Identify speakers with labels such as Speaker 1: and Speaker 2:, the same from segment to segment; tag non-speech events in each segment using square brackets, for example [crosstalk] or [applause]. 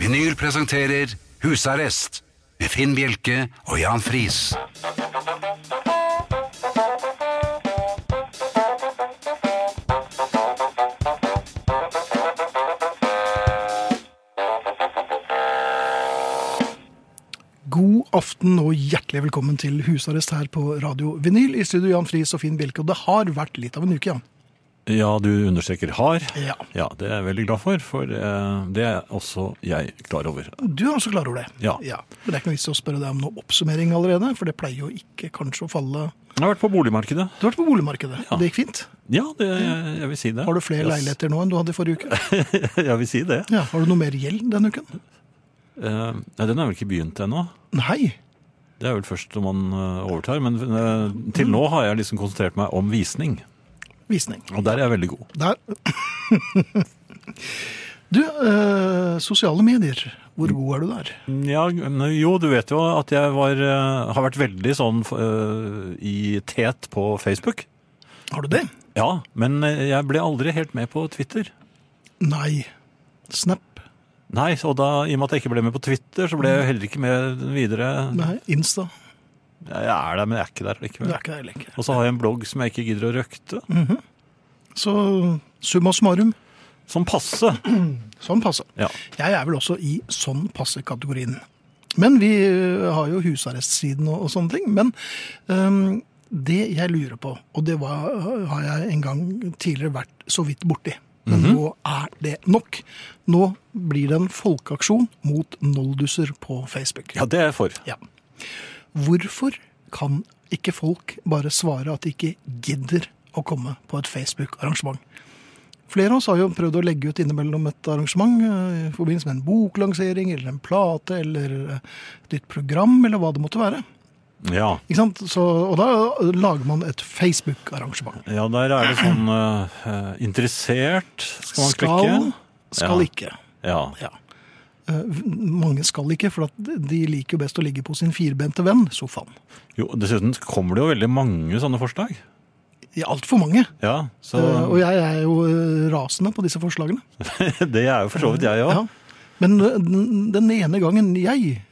Speaker 1: Vinyl presenterer Husarrest med Finn Bjelke og Jan Friis.
Speaker 2: God aften og hjertelig velkommen til husarrest her på Radio Vinyl. I studio Jan Friis og Finn Bjelke. Og det har vært litt av en uke, Jan.
Speaker 3: Ja, du understreker har.
Speaker 2: Ja.
Speaker 3: Ja, det er jeg veldig glad for, for eh, det er også jeg klar over.
Speaker 2: Du er også klar over det?
Speaker 3: Ja.
Speaker 2: Men det er ikke noe vits i å spørre deg om noe oppsummering allerede, for det pleier jo ikke kanskje å falle
Speaker 3: Jeg har vært på boligmarkedet.
Speaker 2: Du har vært på boligmarkedet, og det gikk fint.
Speaker 3: Ja, det, jeg vil si det.
Speaker 2: Har du flere
Speaker 3: Yes.
Speaker 2: leiligheter nå enn du hadde i forrige uke?
Speaker 3: [laughs] jeg vil si det.
Speaker 2: Ja. Har du noe mer gjeld denne uken?
Speaker 3: Eh, Nei, den er vel ikke begynt ennå.
Speaker 2: Nei.
Speaker 3: Det er vel først når man eh, overtar. Men eh, til
Speaker 2: Mm.
Speaker 3: nå har jeg liksom konsentrert meg om visning,
Speaker 2: Visning.
Speaker 3: og der er jeg veldig god.
Speaker 2: Der. [laughs] Du, eh, sosiale medier. Hvor god er du der?
Speaker 3: Ja, men jo, du vet jo at jeg var, eh, har vært veldig sånn eh, i tet på Facebook.
Speaker 2: Har du det?
Speaker 3: Ja, men eh, jeg ble aldri helt med på Twitter.
Speaker 2: Nei. Snap.
Speaker 3: Nei, og da, i og med at jeg ikke ble med på Twitter, så ble jeg jo heller ikke med videre.
Speaker 2: Mm. Nei. Insta.
Speaker 3: Jeg er der, men jeg er ikke der
Speaker 2: Du
Speaker 3: likevel.
Speaker 2: er ikke der lenger.
Speaker 3: Og så har jeg en blogg som jeg ikke gidder å røkte.
Speaker 2: Mm. Så summa summarum,
Speaker 3: Som passe.
Speaker 2: sånn passe.
Speaker 3: Ja.
Speaker 2: Jeg er vel også i sånn passe-kategorien. Men vi ø, har jo husarrestsiden og, og sånne ting. Men øhm, det jeg lurer på, og det var, har jeg en gang tidligere vært så vidt borti Men nå er det nok. Nå blir det en folkeaksjon mot noldusser på Facebook.
Speaker 3: ja, det er jeg for.
Speaker 2: Ja. Hvorfor kan ikke folk bare svare at de ikke gidder å komme på et Facebook-arrangement? Flere av oss har jo prøvd å legge ut innimellom et arrangement eh, i forbindelse med en boklansering eller en plate eller eh, et nytt program eller hva det måtte være.
Speaker 3: Ja.
Speaker 2: Ikke sant? Så, og da lager man et Facebook-arrangement.
Speaker 3: ja, der er det sånn eh, interessert. Skal man
Speaker 2: Skal,
Speaker 3: klikke?
Speaker 2: skal
Speaker 3: Ja.
Speaker 2: ikke.
Speaker 3: Ja.
Speaker 2: Ja. Eh, Mange skal ikke, for at de liker jo best å ligge på sin firbente venn, sofaen.
Speaker 3: Jo, dessuten kommer det jo veldig mange sånne forslag.
Speaker 2: Altfor mange.
Speaker 3: Ja, så
Speaker 2: Eh, Og jeg er jo eh, rasende på disse forslagene.
Speaker 3: [laughs] det er jo for så vidt jeg òg.
Speaker 2: Ja. Men eh, den den ene gangen jeg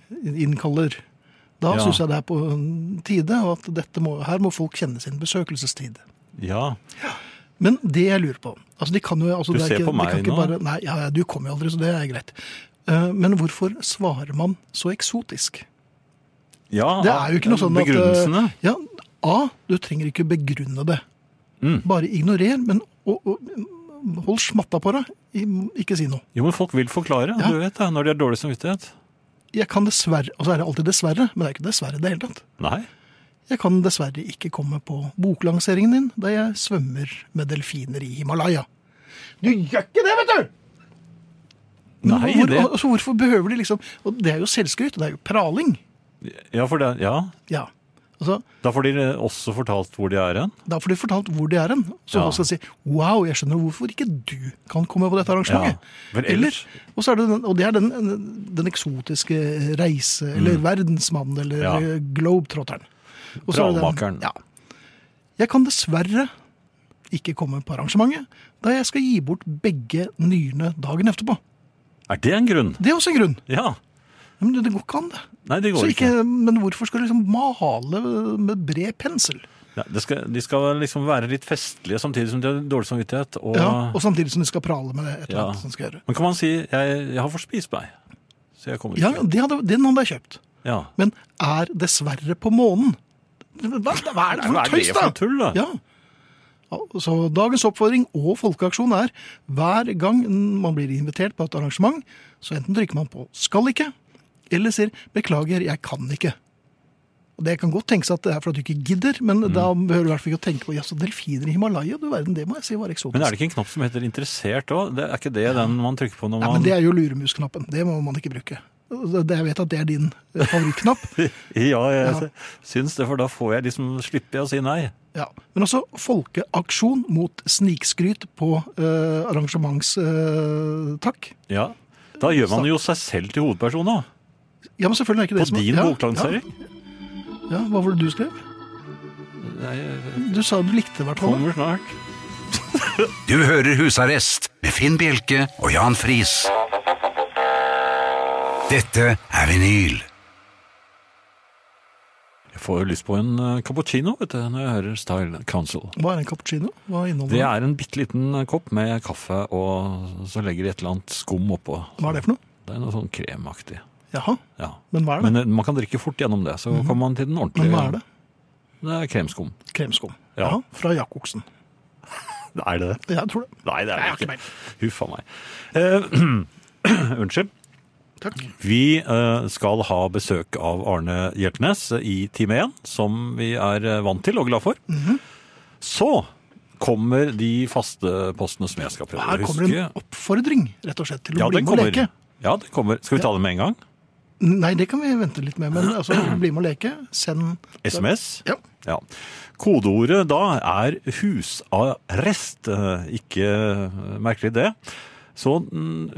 Speaker 2: innkaller, da
Speaker 3: Ja.
Speaker 2: synes syns jeg det er på tide, og at dette må, her må folk kjenne sin besøkelsestid.
Speaker 3: Ja.
Speaker 2: Men det jeg lurer på altså de kan jo, altså
Speaker 3: Du
Speaker 2: det er
Speaker 3: ser
Speaker 2: ikke,
Speaker 3: på meg
Speaker 2: de kan ikke
Speaker 3: nå.
Speaker 2: Bare, nei, ja, ja, du kommer jo aldri, så det er greit. Eh, Men hvorfor svarer man så eksotisk?
Speaker 3: ja.
Speaker 2: Det er jo ikke noe sånn at eh,
Speaker 3: Begrunnelsene.
Speaker 2: Ja, A, du trenger ikke begrunne det.
Speaker 3: Mm.
Speaker 2: Bare ignorer, men og, og, hold smatta på deg. I- Ikke si noe.
Speaker 3: Jo, men folk vil forklare,
Speaker 2: Ja.
Speaker 3: du vet det, når de har dårlig samvittighet.
Speaker 2: Jeg kan dessverre, og så er det alltid dessverre, men det er ikke dessverre i det hele tatt.
Speaker 3: Nei.
Speaker 2: Jeg kan dessverre ikke komme på boklanseringen din, da jeg svømmer med delfiner i Himalaya. Du gjør ikke det, vet du! Men
Speaker 3: Nei,
Speaker 2: hvor,
Speaker 3: det
Speaker 2: altså, hvorfor behøver de liksom og Det er jo selvskryt, det er jo praling. altså-
Speaker 3: Ja, for det, ja.
Speaker 2: Ja. Altså,
Speaker 3: Da får de også fortalt hvor de er hen.
Speaker 2: da får de fortalt hvor de er hen. Så
Speaker 3: Ja.
Speaker 2: man skal si 'wow, jeg skjønner hvorfor ikke du kan komme på dette arrangementet'.
Speaker 3: Ja, vel, ellers-
Speaker 2: Eller- og, så er det den, og det er den, den eksotiske reise, eller verdensmannen, eller
Speaker 3: Mm. Ja.
Speaker 2: ja. globetrotteren. Og så er det den-
Speaker 3: Travmakeren.
Speaker 2: Ja. Jeg kan dessverre ikke komme på arrangementet, da jeg skal gi bort begge nyrene dagen etterpå.
Speaker 3: Er det en grunn?
Speaker 2: Det er også en grunn.
Speaker 3: Ja.
Speaker 2: Men det, det går ikke an, det.
Speaker 3: Nei, det
Speaker 2: Så
Speaker 3: går ikke.
Speaker 2: ikke, men hvorfor skal du liksom male med bred pensel?
Speaker 3: Nei, det skal, de skal liksom være litt festlige samtidig som de har dårlig samvittighet. Og,
Speaker 2: Ja, og samtidig som de skal prale med et eller
Speaker 3: Ja.
Speaker 2: annet som skal gjøre.
Speaker 3: Men kan man si jeg, 'jeg har forspist meg', så jeg kommer
Speaker 2: Ja,
Speaker 3: ikke.
Speaker 2: det hadde, den hadde jeg kjøpt.
Speaker 3: Ja.
Speaker 2: Men er dessverre på månen. Hva, hva er det for
Speaker 3: Hva
Speaker 2: noe
Speaker 3: er det
Speaker 2: tøys, da?
Speaker 3: for noe tull, da?
Speaker 2: Ja. Så dagens oppfordring og folkeaksjon er hver gang man blir invitert på et arrangement, så enten trykker man på 'skal ikke', eller sier 'beklager, jeg kan ikke'. Og Det kan godt tenkes at det er for at du ikke gidder, men
Speaker 3: Mm.
Speaker 2: da behøver du i hvert fall ikke å tenke på jaså, delfiner i Himalaya, du verden, det må jeg si var eksotisk.
Speaker 3: Men er det ikke en knapp som heter 'interessert' òg? Er ikke det den man trykker på når
Speaker 2: Nei,
Speaker 3: man
Speaker 2: men det er jo luremusknappen. Det må man ikke bruke. Det- Jeg vet at det er din eh, favorittknapp.
Speaker 3: [laughs] Ja, jeg
Speaker 2: Ja.
Speaker 3: syns det, for da får jeg liksom slipper jeg å si nei.
Speaker 2: Ja, Men også folkeaksjon mot snikskryt på eh, arrangementstakk.
Speaker 3: Ja. Da gjør man jo seg selv til hovedperson, da.
Speaker 2: ja, men selvfølgelig er ikke det
Speaker 3: På
Speaker 2: som-
Speaker 3: din
Speaker 2: ja,
Speaker 3: boklansering.
Speaker 2: Ja, ja, Hva var det du skrev?
Speaker 3: Jeg
Speaker 2: Du sa du likte i hvert fall det.
Speaker 3: Kommer snart.
Speaker 1: Du hører Husarrest med Finn Bjelke og Jan Friis. Dette er vinyl.
Speaker 3: Jeg får jo lyst på en eh, cappuccino vet du, når jeg hører Style Council.
Speaker 2: Hva er en cappuccino? Hva inneholder
Speaker 3: Det
Speaker 2: den?
Speaker 3: er en bitte liten eh, kopp med kaffe, og så legger de et eller annet skum oppå.
Speaker 2: Hva er det for noe?
Speaker 3: Det er noe sånn kremaktig.
Speaker 2: Jaha,
Speaker 3: Ja.
Speaker 2: men hva er det? Mhm.
Speaker 3: Men eh, man kan drikke fort gjennom det, så kommer man til den ordentlige.
Speaker 2: Men hva er det?
Speaker 3: Det er
Speaker 2: [laughs]
Speaker 3: kremskum.
Speaker 2: Kremskum.
Speaker 3: Ja.
Speaker 2: Ja. Fra Jacobsen.
Speaker 3: Er det det?
Speaker 2: Jeg tror det.
Speaker 3: Nei, det er
Speaker 2: Jeg har
Speaker 3: det
Speaker 2: ikke
Speaker 3: ikke. Huff a meg. Eh, [clears throat] unnskyld.
Speaker 2: Takk.
Speaker 3: Vi eh, skal ha besøk av Arne Hjeltnes i time 1, som vi er eh, vant til og glad for.
Speaker 2: Mhm.
Speaker 3: Så kommer de faste postene som jeg skal prøve
Speaker 2: Her
Speaker 3: å huske.
Speaker 2: kommer en oppfordring, rett og slett, til å
Speaker 3: ja,
Speaker 2: bli
Speaker 3: den
Speaker 2: med og
Speaker 3: kommer.
Speaker 2: leke.
Speaker 3: Ja, den kommer. Skal vi ta den med en gang?
Speaker 2: Nei, det kan vi vente litt med, men altså, bli med og leke. Send
Speaker 3: [clears throat] SMS?
Speaker 2: Ja.
Speaker 3: Ja. Kodeordet da er husarrest. Eh, Ikke merkelig det. Så mm,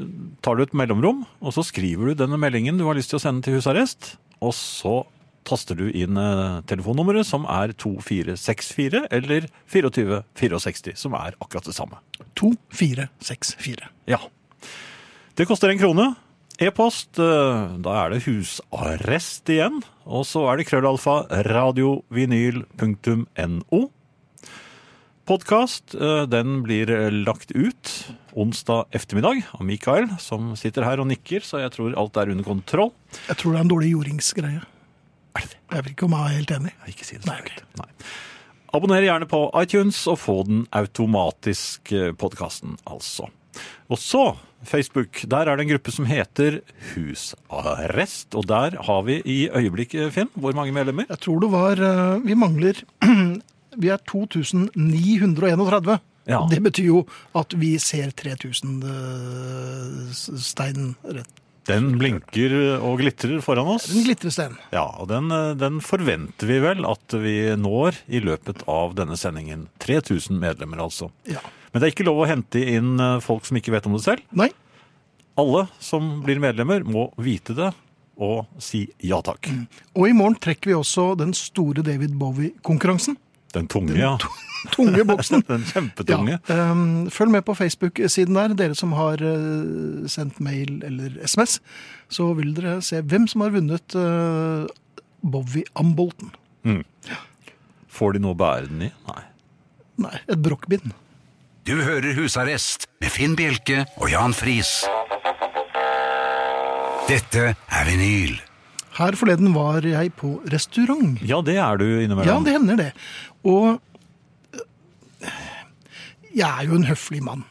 Speaker 3: tar du et mellomrom, og så skriver du denne meldingen du har lyst til å sende til husarrest. Og så taster du inn eh, telefonnummeret, som er 2464 eller 2464, som er akkurat det samme.
Speaker 2: 2464.
Speaker 3: Ja. Det koster en krone. E-post, eh, da er det husarrest igjen. Og så er det krøllalfa radiovinyl.no. Podkast, eh, den blir lagt ut onsdag ettermiddag av Mikael, som sitter her og nikker, så jeg tror alt er under kontroll.
Speaker 2: Jeg tror det er en dårlig jordingsgreie.
Speaker 3: Er det det?
Speaker 2: Jeg vil ikke om jeg er helt enig.
Speaker 3: Nei, Ikke si det så
Speaker 2: Nei,
Speaker 3: høyt. Nei. Abonner gjerne på iTunes og få den automatisk, eh, podkasten altså. Og så Facebook. Der er det en gruppe som heter Husarrest. Og der har vi i øyeblikket, Finn, hvor mange medlemmer?
Speaker 2: Jeg tror det var eh, Vi mangler [clears throat] Vi er 2931.
Speaker 3: Ja.
Speaker 2: Det betyr jo at vi ser 3000-steinen rett.
Speaker 3: Den blinker og glitrer foran oss.
Speaker 2: En glitrestein.
Speaker 3: Ja, og den, eh, den forventer vi vel at vi når i løpet av denne sendingen. 3000 medlemmer, altså.
Speaker 2: Ja.
Speaker 3: Men det er ikke lov å hente inn eh, folk som ikke vet om det selv.
Speaker 2: Nei.
Speaker 3: Alle som blir medlemmer må vite det og si ja takk.
Speaker 2: Og i morgen trekker vi også den store David Bowie-konkurransen.
Speaker 3: Den tunge, ja. [laughs]
Speaker 2: Tunge boksen.
Speaker 3: Den kjempetunge.
Speaker 2: Ja, ehm, følg med på Facebook-siden der, dere som har eh, sendt mail eller SMS. Så vil dere se hvem som har vunnet eh, Bowie Ambolten.
Speaker 3: Får de noe å bære den i? Nei.
Speaker 2: Nei, et brokkbind.
Speaker 1: Du hører Husarrest med Finn Bjelke og Jan Friis. Dette er vinyl.
Speaker 2: Her forleden var jeg på restaurant.
Speaker 3: Ja, det er du
Speaker 2: Ja,
Speaker 3: innimellom.
Speaker 2: det hender det. Og eh, jeg er jo en høflig mann.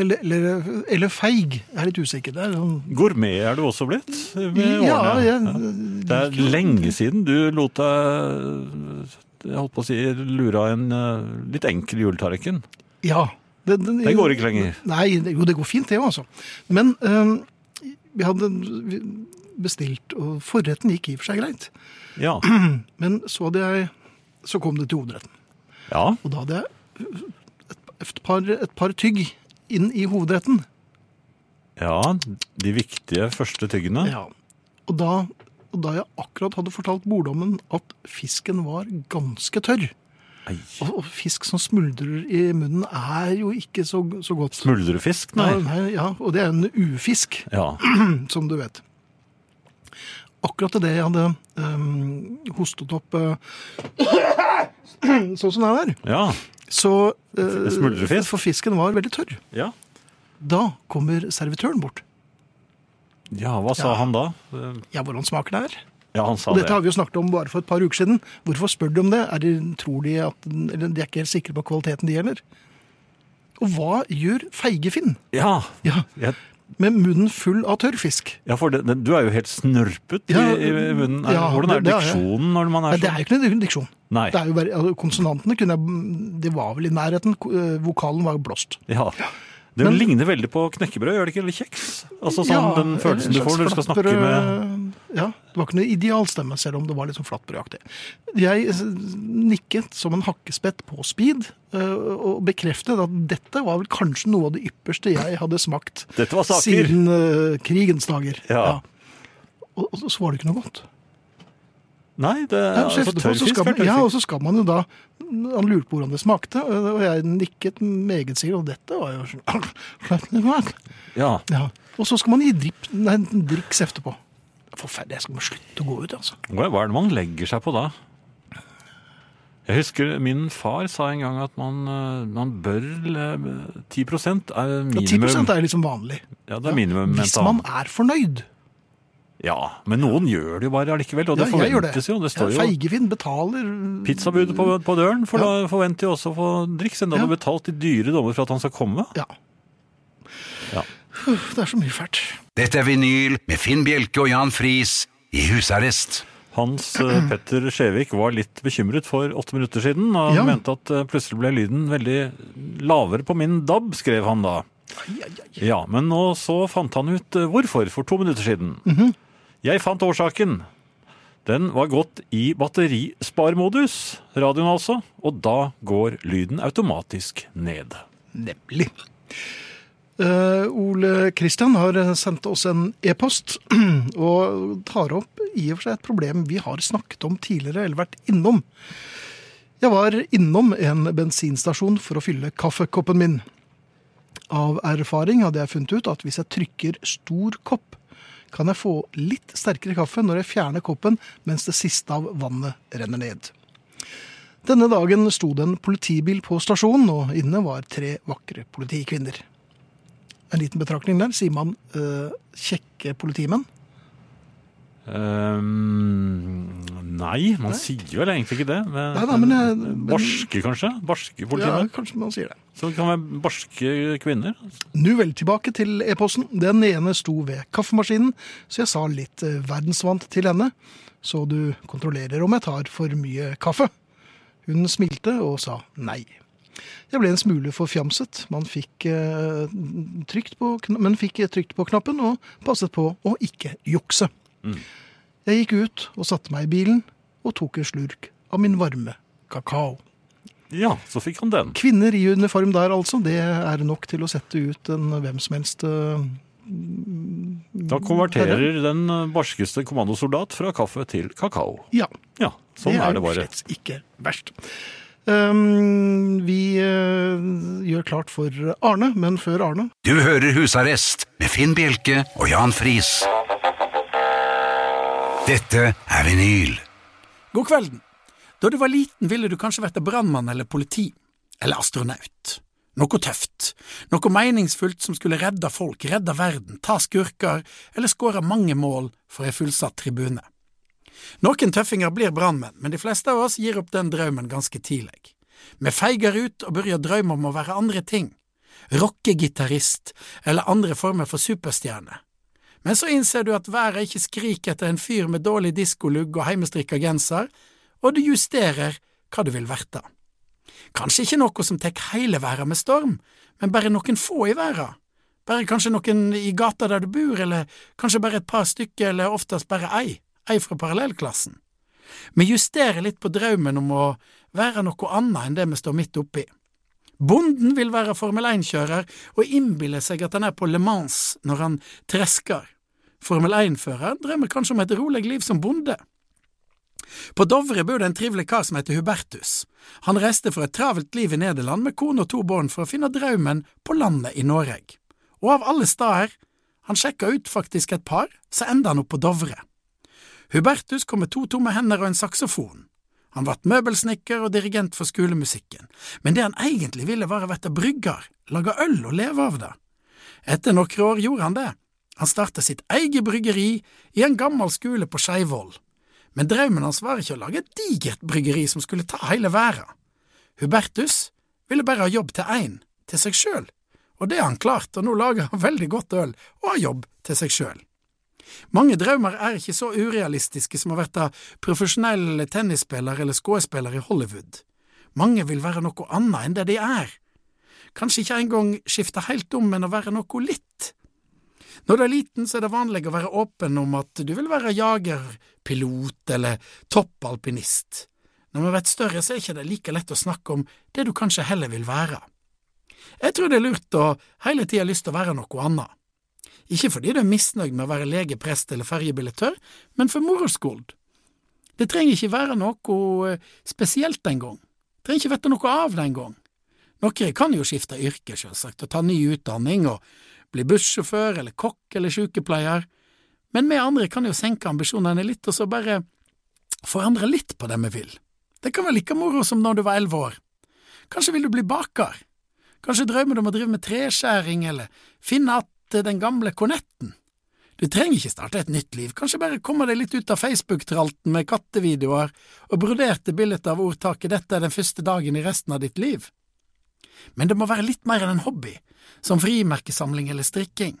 Speaker 2: Eller, eller, eller feig. Jeg er litt usikker. Det er sånn
Speaker 3: Gourmet er du også blitt med
Speaker 2: Ja,
Speaker 3: årene.
Speaker 2: jeg-
Speaker 3: det er lenge siden du lot deg jeg holdt på å si, lura en eh, litt enkel juletallerken.
Speaker 2: Ja. Det, det,
Speaker 3: Det går ikke lenger.
Speaker 2: Nei, det- jo det går fint det jo, altså. Men øhm, vi hadde vi bestilt, og forretten gikk i og for seg greit. [clears throat]
Speaker 3: Ja.
Speaker 2: Men så hadde jeg, så kom det til hovedretten.
Speaker 3: ja.
Speaker 2: Og da hadde jeg et, et, par, et par tygg inn i hovedretten.
Speaker 3: Ja, de viktige første tyggene.
Speaker 2: Ja. Og da, og da jeg akkurat hadde fortalt borddommen at fisken var ganske tørr.
Speaker 3: Ei.
Speaker 2: Og, og fisk som smuldrer i munnen er jo ikke så, så godt.
Speaker 3: Smuldrefisk, nei.
Speaker 2: Ja, nei, ja, og det er en ufisk.
Speaker 3: Ja.
Speaker 2: som du vet. Akkurat det jeg hadde ehm, hostet opp eh, [clears throat] sånn som det er der,
Speaker 3: ja.
Speaker 2: så eh,
Speaker 3: Smuldrefisk?
Speaker 2: For fisken var veldig tørr.
Speaker 3: Ja.
Speaker 2: Da kommer servitøren bort.
Speaker 3: Ja, hva sa
Speaker 2: Ja.
Speaker 3: han da? Eh,
Speaker 2: Ja, hvordan smaker det her?
Speaker 3: Ja, han sa
Speaker 2: Og dette
Speaker 3: det.
Speaker 2: har vi jo snakket om bare for et par uker siden. Hvorfor spør de om det? Er de, tror de at den- eller De er ikke helt sikre på kvaliteten, de heller. Og hva gjør feige Finn
Speaker 3: Ja,
Speaker 2: ja,
Speaker 3: jeg,
Speaker 2: med munnen full av tørrfisk?
Speaker 3: ja for det, det, du er jo helt snørpet
Speaker 2: Ja,
Speaker 3: i, i munnen. Er,
Speaker 2: ja,
Speaker 3: hvordan er
Speaker 2: det- det er jeg.
Speaker 3: diksjonen når man
Speaker 2: Nei,
Speaker 3: er
Speaker 2: det
Speaker 3: sånn?
Speaker 2: er jo ikke noen diksjon.
Speaker 3: Nei.
Speaker 2: Det er jo bare, altså, konsonantene kunne jeg, det var vel i nærheten. ko- eh, Vokalen var jo blåst.
Speaker 3: Ja. Det
Speaker 2: Men-
Speaker 3: ligner veldig på knekkebrød, gjør det ikke? Eller kjeks? Altså sånn
Speaker 2: Ja, eh,
Speaker 3: den følelsen du
Speaker 2: en
Speaker 3: får når du
Speaker 2: slags
Speaker 3: skal snakke med
Speaker 2: flatbrød- Ja, det var ikke noe idealstemme, selv om det var litt sånn flatbrødaktig. Jeg eh, nikket som en hakkespett på speed, eh, og bekreftet at dette var vel kanskje noe av det ypperste jeg hadde smakt
Speaker 3: Dette var saker!
Speaker 2: siden eh, krigens dager.
Speaker 3: Ja.
Speaker 2: Og, og så var det ikke noe godt.
Speaker 3: Nei, det er
Speaker 2: Ja, så
Speaker 3: altså,
Speaker 2: etterpå så skal
Speaker 3: tørrfisk er
Speaker 2: man, ja, og
Speaker 3: tørrfisk.
Speaker 2: så skal man jo da Han lurte på hvordan det smakte, og jeg nikket meget sikkert, og dette var jo sånn
Speaker 3: Ja,
Speaker 2: ja. Og så skal man gi dripp, nei, driks etterpå. Forferdelig. Jeg skal bare slutte å gå ut, altså.
Speaker 3: Hva hva er det man legger seg på da? Jeg husker min far sa en gang at man, eh, man bør le- 10
Speaker 2: Ja,
Speaker 3: er minimum.
Speaker 2: 10 er liksom vanlig.
Speaker 3: Ja, det er minimum.
Speaker 2: Hvis
Speaker 3: mental.
Speaker 2: man er fornøyd.
Speaker 3: Ja, men noen gjør det jo bare allikevel, og det
Speaker 2: Ja, jeg gjør
Speaker 3: forventes jo. Det står
Speaker 2: Ja,
Speaker 3: jo
Speaker 2: Feigefinn betaler
Speaker 3: pizzabudet på, på døren, for da forventer jo også å få driks. Enda
Speaker 2: Ja.
Speaker 3: du har betalt i dyre dommer for at han skal komme.
Speaker 2: Ja.
Speaker 3: Ja.
Speaker 2: Uff, Det er så mye fælt.
Speaker 1: Dette er vinyl med Finn Bjelke og Jan Friis i husarrest.
Speaker 3: Hans
Speaker 2: [clears throat]
Speaker 3: eh, Petter Skjevik var litt bekymret for åtte minutter siden. Og
Speaker 2: Ja.
Speaker 3: mente at eh, plutselig ble lyden veldig lavere på min DAB, skrev han da.
Speaker 2: Ai, ai, ai.
Speaker 3: Ja, men nå så fant han ut eh, hvorfor for to minutter siden.
Speaker 2: Mhm.
Speaker 3: Jeg fant årsaken. Den var gått i batterisparmodus, radioen altså, og da går lyden automatisk ned.
Speaker 2: Nemlig. Eh, Ole Kristian har sendt oss en e-post [clears throat] og tar opp i og for seg et problem vi har snakket om tidligere, eller vært innom. Jeg var innom en bensinstasjon for å fylle kaffekoppen min. Av erfaring hadde jeg funnet ut at hvis jeg trykker stor kopp, kan jeg få litt sterkere kaffe når jeg fjerner koppen mens det siste av vannet renner ned. Denne dagen sto det en politibil på stasjonen, og inne var tre vakre politikvinner. En liten betraktning der. Sier man eh, kjekke politimenn?
Speaker 3: Ehm, nei, man sier vel egentlig ikke det. Men,
Speaker 2: Nei da, men jeg- men-
Speaker 3: barske, kanskje? Barske
Speaker 2: Ja,
Speaker 3: politimenn.
Speaker 2: kanskje man sier det.
Speaker 3: Så det kan være barske kvinner.
Speaker 2: Nu vel tilbake til e-posten. Den ene sto ved kaffemaskinen, så jeg sa litt eh, verdensvant til henne. Så du kontrollerer om jeg tar for mye kaffe? Hun smilte og sa nei. Jeg ble en smule forfjamset. Man fikk, eh, trykt på, kn- men fikk trykt på knappen og passet på å ikke jukse. Jeg gikk ut og satte meg i bilen og tok en slurk av min varme kakao.
Speaker 3: Ja, så fikk han den.
Speaker 2: Kvinner i uniform der, altså. Det er nok til å sette ut en hvem som helst eh,
Speaker 3: Da
Speaker 2: Mm,
Speaker 3: konverterer den barskeste kommandosoldat fra kaffe til kakao.
Speaker 2: Ja.
Speaker 3: Ja, sånn er
Speaker 2: jo
Speaker 3: det bare.
Speaker 2: slett ikke verst. Um, vi eh, gjør klart for Arne, men før Arne
Speaker 1: Du hører Husarrest med Finn Bjelke og Jan Friis. Dette er vinyl.
Speaker 4: God kvelden. Da du var liten, ville du kanskje vært brannmann eller politi. Eller astronaut. Noe tøft. Noe meningsfullt som skulle redde folk, redde verden, ta skurker eller skåre mange mål for ei fullsatt tribune. Noen tøffinger blir brannmenn, men de fleste av oss gir opp den drømmen ganske tidlig. Vi feiger ut og begynner å drømme om å være andre ting. Rockegitarist eller andre former for superstjerne. Men så innser du at været ikke skriker etter en fyr med dårlig diskolugg og heimestrikka genser, og du justerer hva du vil verte. Kanskje ikke noe som tek hele verda med storm, men bare noen få i verda. Bare kanskje noen i gata der du bor, eller kanskje bare et par stykker, eller oftest bare ei, ei fra parallellklassen. Vi justerer litt på drømmen om å være noe annet enn det vi står midt oppi. Bonden vil være Formel 1-kjører og innbiller seg at han er på Le Mans når han tresker. Formel 1-føreren drømmer kanskje om et rolig liv som bonde. På Dovre bor det en trivelig kar som heter Hubertus. Han reiste fra et travelt liv i Nederland med kone og to barn for å finne drømmen på landet i Norge. Og av alle steder, han sjekka ut faktisk et par, så enda han opp på Dovre. Hubertus kom med to tomme hender og en saksofon. Han ble møbelsnekker og dirigent for skolemusikken, men det han egentlig ville var å bli brygger, lage øl og leve av det. Etter noen år gjorde han det. Han startet sitt eget bryggeri i en gammel skole på Skeivoll. Men drømmen hans var ikke å lage et digert bryggeri som skulle ta hele verden. Hubertus ville bare ha jobb til én, til seg sjøl, og det har han klart, og nå lager han veldig godt øl og har jobb til seg sjøl. Mange drømmer er ikke så urealistiske som å være profesjonell tennisspiller eller skuespiller i Hollywood. Mange vil være noe annet enn det de er. Kanskje ikke engang skifte helt om, men å være noe litt. Når du er liten, så er det vanlig å være åpen om at du vil være jager, pilot eller toppalpinist. Når vi blir større, så er ikke det like lett å snakke om det du kanskje heller vil være. Jeg tror det er lurt å hele tida ha lyst til å være noe annet. Ikke fordi du er misnøyd med å være lege, prest eller ferjebillettør, men for moro skyld. Det trenger ikke være noe eh, spesielt den gang. Det trenger ikke vite noe av den gang. Noen kan jo skifte yrke, sjølsagt, og ta ny utdanning og bli bussjåfør eller kokk eller sykepleier, men vi andre kan jo senke ambisjonene litt og så bare forandre litt på det vi vil. Det kan være like moro som når du var elleve år. Kanskje vil du bli baker? Kanskje drømmer du om å drive med treskjæring eller finne igjen den gamle kornetten? Du trenger ikke starte et nytt liv, kanskje bare komme deg litt ut av Facebook-tralten med kattevideoer og broderte bilder av ordtaket Dette er den første dagen i resten av ditt liv. Men det må være litt mer enn en hobby, som frimerkesamling eller strikking.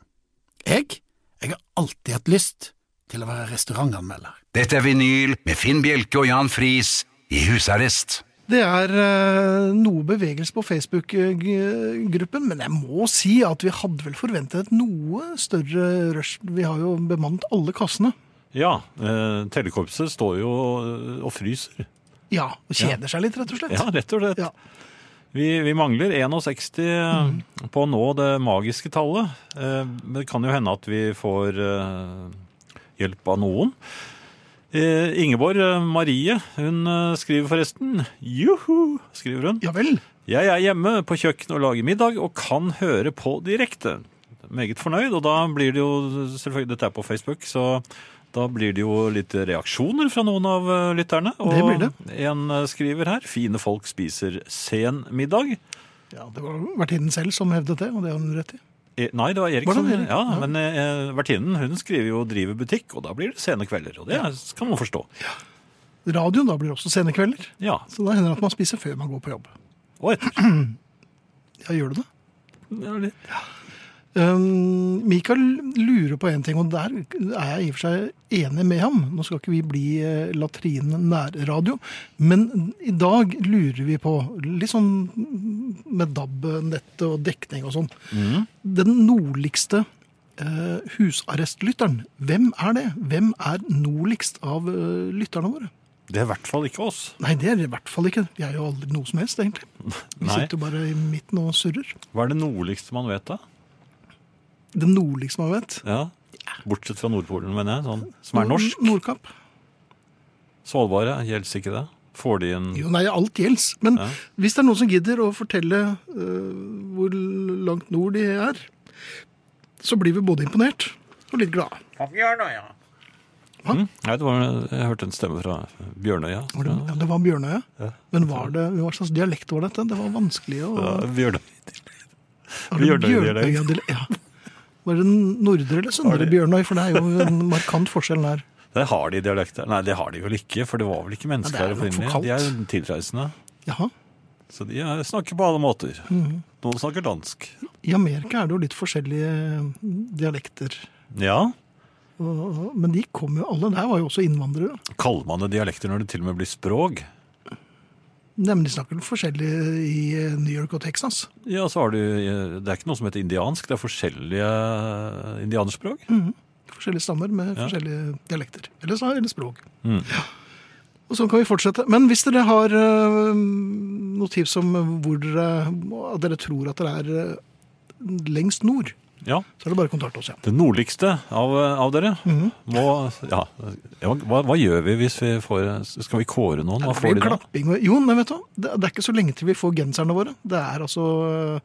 Speaker 4: Jeg, jeg har alltid hatt lyst til å være restaurantanmelder.
Speaker 1: Dette er vinyl med Finn Bjelke og Jan Friis i husarrest.
Speaker 2: Det er eh, noe bevegelse på Facebook-gruppen, men jeg må si at vi hadde vel forventet et noe større rush. Vi har jo bemannet alle kassene.
Speaker 3: Ja, eh, telekorpset står jo eh, og fryser.
Speaker 2: Ja, og kjeder seg litt, rett og slett.
Speaker 3: Ja, rett og slett.
Speaker 2: Ja.
Speaker 3: Vi, vi mangler 61
Speaker 2: Mm.
Speaker 3: eh, på å nå det magiske tallet. Eh, Men det kan jo hende at vi får eh, hjelp av noen. Eh, Ingeborg eh, Marie, hun eh, skriver forresten. Juhu, skriver hun.
Speaker 2: Ja vel.
Speaker 3: Jeg er hjemme på kjøkkenet og lager middag og kan høre på direkte. Meget fornøyd, og da blir det jo selvfølgelig Dette er på Facebook, så da blir det jo litt reaksjoner fra noen av eh, lytterne. Og
Speaker 2: Det blir det.
Speaker 3: en eh, skriver her 'Fine folk spiser sen middag'.
Speaker 2: Ja, Det var vertinnen selv som hevdet det, og det har hun rett i.
Speaker 3: Eh, Nei, det var Erik
Speaker 2: Var det
Speaker 3: som
Speaker 2: Erik?
Speaker 3: Ja,
Speaker 2: Ja.
Speaker 3: men eh, vertinnen hun skriver jo og 'driver butikk', og da blir det sene kvelder. Og det kan man forstå.
Speaker 2: Radioen da blir også sene kvelder,
Speaker 3: Ja.
Speaker 2: så da hender det at man spiser før man går på jobb.
Speaker 3: Og etter.
Speaker 2: Ja, gjør du det?
Speaker 3: Ja, litt.
Speaker 2: Um, Mikael lurer på en ting, og der er jeg i og for seg enig med ham. Nå skal ikke vi bli eh, latrinen nærradio, men i dag lurer vi på, litt sånn med DAB-nettet og dekning og sånn,
Speaker 3: Mm.
Speaker 2: den nordligste eh, husarrestlytteren, hvem er det? Hvem er nordligst av eh, lytterne våre?
Speaker 3: Det er i hvert fall ikke oss.
Speaker 2: Nei, det er det i hvert fall ikke. Vi er jo aldri noe som helst,
Speaker 3: [laughs]
Speaker 2: egentlig. Vi
Speaker 3: Nei.
Speaker 2: sitter jo bare i midten og surrer.
Speaker 3: Hva er det nordligste man vet, da?
Speaker 2: Den nordligste man vet.
Speaker 3: Ja. Bortsett fra Nordpolen, mener jeg. Sånn, som er norsk.
Speaker 2: Nordkapp.
Speaker 3: Svalbard gjelder ikke det. Får de en
Speaker 2: Jo, nei, alt gjelds. Men
Speaker 3: Ja.
Speaker 2: hvis det er noen som gidder å fortelle øh, hvor langt nord de er, så blir vi både imponert og litt glade.
Speaker 3: Hm? Nei, det var, jeg hørte en stemme fra Bjørnøya.
Speaker 2: Var det, ja, det var Bjørnøya. Men var det, hva slags dialekt var dette? Det var vanskelig å
Speaker 3: Ja, Bjørnøy.
Speaker 2: Var det
Speaker 3: Bjørnøy-dialekt.
Speaker 2: Bjørnøya-dialekt? Ja. Var det den nordre eller søndre Bjørnøy? For det er jo en markant forskjell der.
Speaker 3: Der har de dialekt der. Nei, det har de vel ikke, for det var vel ikke mennesker
Speaker 2: Ja, det
Speaker 3: her
Speaker 2: er jo for
Speaker 3: opprinnelig.
Speaker 2: kaldt.
Speaker 3: De er jo tilreisende.
Speaker 2: Jaha.
Speaker 3: Så de er, snakker på alle måter.
Speaker 2: Mhm.
Speaker 3: Noen snakker dansk.
Speaker 2: I Amerika er det jo litt forskjellige øh, dialekter.
Speaker 3: Ja.
Speaker 2: Og- Men de kom jo alle der, var jo også innvandrere.
Speaker 3: Kaller man det dialekter når det til og med blir språk?
Speaker 2: Nemlig snakker forskjellig i øh, New York og Texas.
Speaker 3: Ja, så har du eh, Det er ikke noe som heter indiansk. Det er forskjellige eh, indianerspråk.
Speaker 2: Mm. forskjellige stammer med forskjellige dialekter. Eller, så- eller språk.
Speaker 3: Mm.
Speaker 2: Ja. Og sånn kan vi fortsette. Men hvis dere har øh, noe tips om hvor dere, at dere tror at dere er øh, lengst nord,
Speaker 3: Ja.
Speaker 2: så er det bare å kontakte oss igjen.
Speaker 3: Det nordligste av, av dere
Speaker 2: Mhm.
Speaker 3: må Ja, ja hva, hva gjør vi hvis vi får Skal vi kåre noen? Hva
Speaker 2: Det
Speaker 3: får
Speaker 2: blir
Speaker 3: de da?
Speaker 2: klapping og Jo, nei, vet du, hva? det, det er ikke så lenge til vi får genserne våre. Det er altså øh,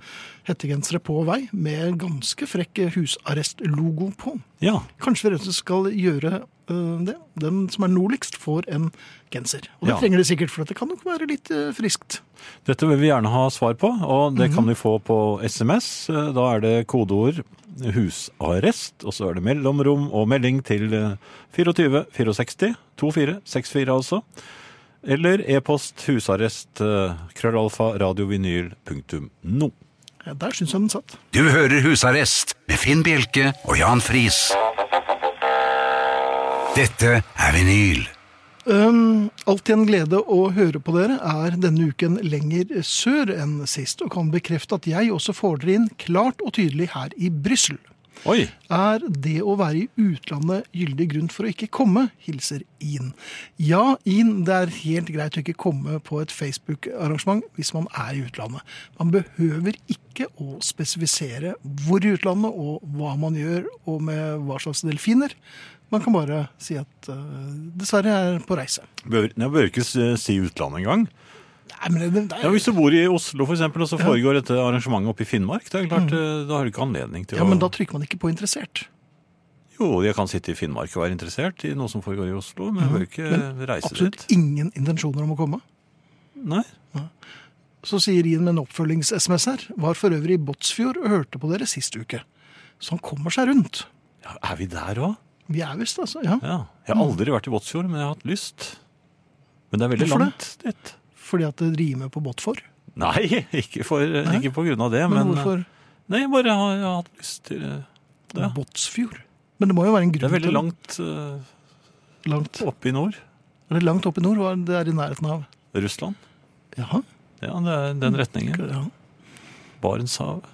Speaker 2: hettegensere på vei med ganske frekk husarrestlogo på.
Speaker 3: Ja.
Speaker 2: Kanskje vi rett og slett skal gjøre øh, det. Den som er nordligst, får en genser. Og det
Speaker 3: Ja.
Speaker 2: trenger de sikkert, for det kan nok være litt øh, friskt.
Speaker 3: Dette vil vi gjerne ha svar på, og det
Speaker 2: Mhm.
Speaker 3: kan vi få på SMS. Eh, Da er det kodeord 'husarrest', og så er det mellomrom og melding til eh, 24 64 24 64, altså. Eller e-post husarrest eh, krøllalfa radiovinyl.no.
Speaker 2: Ja, der syns jeg den satt.
Speaker 1: Du hører Husarrest med Finn Bjelke og Jan Friis. Dette er vinyl.
Speaker 2: Um, alltid en glede å høre på dere. Er denne uken lenger sør enn sist, og kan bekrefte at jeg også får dere inn klart og tydelig her i Brussel.
Speaker 3: Oi.
Speaker 2: Er det å være i utlandet gyldig grunn for å ikke komme? Hilser In. Ja, In, det er helt greit å ikke komme på et Facebook-arrangement hvis man er i utlandet. Man behøver ikke å spesifisere hvor i utlandet og hva man gjør og med hva slags delfiner. Man kan bare si at eh, dessverre jeg er på reise.
Speaker 3: Bør, jeg bør ikke s- si utlandet engang.
Speaker 2: Nei, men det, det
Speaker 3: Ja,
Speaker 2: er,
Speaker 3: hvis du bor i Oslo for eksempel, og så foregår dette arrangementet oppe i Finnmark, det er klart, eh, da har du ikke anledning til
Speaker 2: Mm. ja,
Speaker 3: å
Speaker 2: men da trykker man ikke på interessert.
Speaker 3: Jo, jeg kan sitte i Finnmark og være interessert i noe som foregår i Oslo, men jeg bør ikke reise
Speaker 2: Mm. Absolutt
Speaker 3: dit.
Speaker 2: ingen intensjoner om å komme.
Speaker 3: Nei.
Speaker 2: Så sier Rien med en oppfølgings-SMS her. Var for øvrig i Båtsfjord og hørte på dere sist uke. Så han kommer seg rundt.
Speaker 3: Ja, er vi der òg?
Speaker 2: Vi er visst, altså. Ja.
Speaker 3: Ja. Jeg har aldri vært i Båtsfjord, men jeg har hatt lyst. Men det er veldig
Speaker 2: Hvorfor
Speaker 3: langt dit.
Speaker 2: Fordi at det rimer på Båtfor.
Speaker 3: Nei, [laughs] ikke, for, eh, ikke på grunn av det,
Speaker 2: Men,
Speaker 3: men, eh,
Speaker 2: hvorfor
Speaker 3: Nei, jeg bare har, jeg har hatt lyst til eh, det.
Speaker 2: Båtsfjord? Men det må jo være en grunn
Speaker 3: Det er veldig
Speaker 2: til-
Speaker 3: langt eh,
Speaker 2: langt.
Speaker 3: oppe i nord.
Speaker 2: Eller langt opp i nord, hva er det det er i nærheten av.
Speaker 3: Russland.
Speaker 2: Jaha.
Speaker 3: Ja, det er den
Speaker 2: Mm.
Speaker 3: retningen.
Speaker 2: Ja.
Speaker 3: Barentshavet.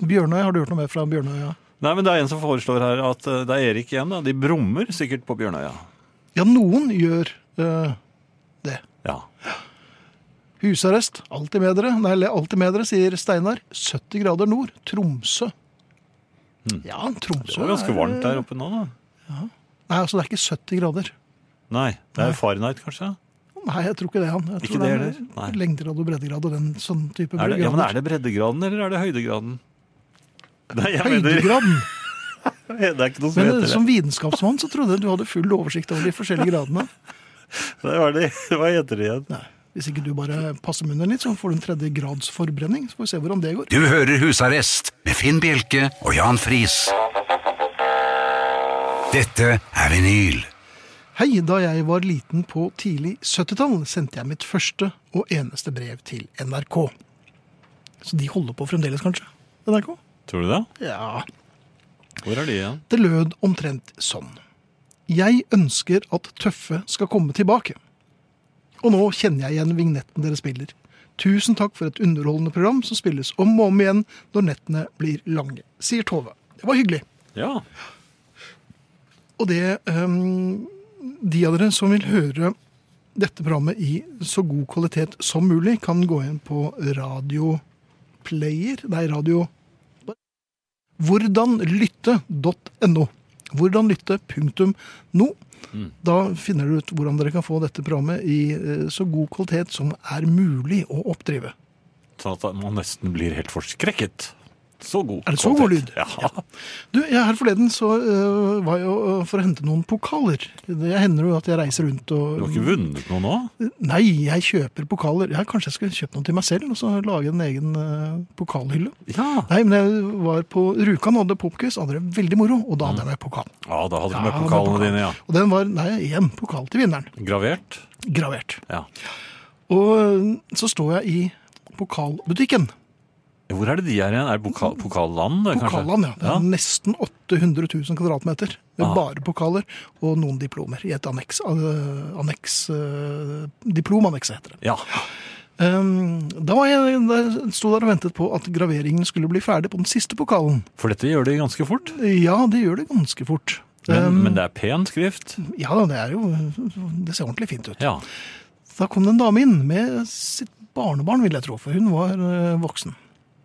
Speaker 2: Bjørnøy, har du hørt noe mer fra Bjørnøya?
Speaker 3: Nei, men det er en som foreslår her at eh, det er Erik igjen, da. De brummer sikkert på Bjørnøya.
Speaker 2: Ja, noen gjør eh, det.
Speaker 3: Ja.
Speaker 2: Husarrest, alltid med dere. Nei, eller alltid med dere, sier Steinar. 70 grader nord, Tromsø. Ja,
Speaker 3: Mm. Det
Speaker 2: Tromsø
Speaker 3: var ganske
Speaker 2: er-
Speaker 3: varmt der oppe nå, da.
Speaker 2: Nei, altså det er ikke 70 grader.
Speaker 3: Nei, det er Fahrenheit, kanskje?
Speaker 2: Nei, jeg tror ikke det, han. Jeg tror
Speaker 3: Ikke det heller? Nei.
Speaker 2: er lengdegrad og breddegrad og den sånn type
Speaker 3: Er det, ja, men
Speaker 2: grader.
Speaker 3: er det breddegraden, eller er det høydegraden? Nei, jeg mener,
Speaker 2: Høydegraden!
Speaker 3: [laughs] det er ikke noe som
Speaker 2: Men
Speaker 3: heter det.
Speaker 2: som vitenskapsmann så trodde jeg du hadde full oversikt over de forskjellige
Speaker 3: [laughs]
Speaker 2: gradene.
Speaker 3: Nei, Hva, er det, [laughs] hva heter det igjen?
Speaker 2: Nei, Hvis ikke du bare passer munnen litt, så får du en tredje grads forbrenning. Så får vi se hvordan det går.
Speaker 1: Du hører Husarrest med Finn Bjelke og Jan Friis. Dette er vinyl.
Speaker 2: Hei, da jeg var liten på tidlig 70-tall, sendte jeg mitt første og eneste brev til NRK. Så de holder på fremdeles, kanskje? NRK?
Speaker 3: Tror du det?
Speaker 2: Ja.
Speaker 3: Hvor er de igjen?
Speaker 2: Det lød omtrent sånn. Jeg ønsker at tøffe skal komme tilbake. Og nå kjenner jeg igjen vignetten dere spiller. Tusen takk for et underholdende program som spilles om og om igjen når nettene blir lange, sier Tove. Det var hyggelig.
Speaker 3: Ja.
Speaker 2: Og det ehm, De av dere som vil høre dette programmet i så god kvalitet som mulig, kan gå inn på radioplayer Nei, radio Hvordanlytte.no. Hvordanlytte.no.
Speaker 3: Mm.
Speaker 2: Da finner dere ut hvordan dere kan få dette programmet i eh, så god kvalitet som er mulig å oppdrive.
Speaker 3: Sånn at man nesten blir helt forskrekket. Så god
Speaker 2: Er det så god
Speaker 3: kvalitet.
Speaker 2: lyd?
Speaker 3: Ja.
Speaker 2: Du, jeg, her forleden så øh, var jeg øh, for å hente noen pokaler. Det hender jo at jeg reiser rundt og
Speaker 3: Du har ikke vunnet noe nå?
Speaker 2: Nei, jeg kjøper pokaler. Ja, kanskje jeg skulle kjøpt noen til meg selv og så lage en egen eh, pokalhylle.
Speaker 3: Ja.
Speaker 2: Nei, men jeg var på Rjukan og hadde popquiz. Hadde det veldig moro, og da hadde jeg med pokal.
Speaker 3: Ja, da hadde du
Speaker 2: Ja,
Speaker 3: med pokalene
Speaker 2: pokal.
Speaker 3: dine, ja.
Speaker 2: Og den var nei, én pokal til vinneren.
Speaker 3: Gravert?
Speaker 2: Gravert.
Speaker 3: Ja.
Speaker 2: Og eh, så står jeg i pokalbutikken.
Speaker 3: Hvor er det de er igjen? Er det pokal, pokalland, kanskje?
Speaker 2: Pokalene, Mm. ja. Mm. Det er Nesten 800 000 kvadratmeter med
Speaker 3: Ah.
Speaker 2: bare pokaler og noen diplomer i et anneks. eh, anneks eh, Diplomannekset heter det.
Speaker 3: Ja.
Speaker 2: Um, da var jeg der, sto der og ventet på at graveringen skulle bli ferdig på den siste pokalen.
Speaker 3: For dette gjør de ganske fort.
Speaker 2: Ja, det gjør det ganske fort.
Speaker 3: Men,
Speaker 2: Um,
Speaker 3: men det er pen skrift.
Speaker 2: Ja da, det er jo Det ser ordentlig fint ut.
Speaker 3: Ja.
Speaker 2: Da kom det en dame inn med sitt barnebarn, vil jeg tro, for hun var eh, voksen.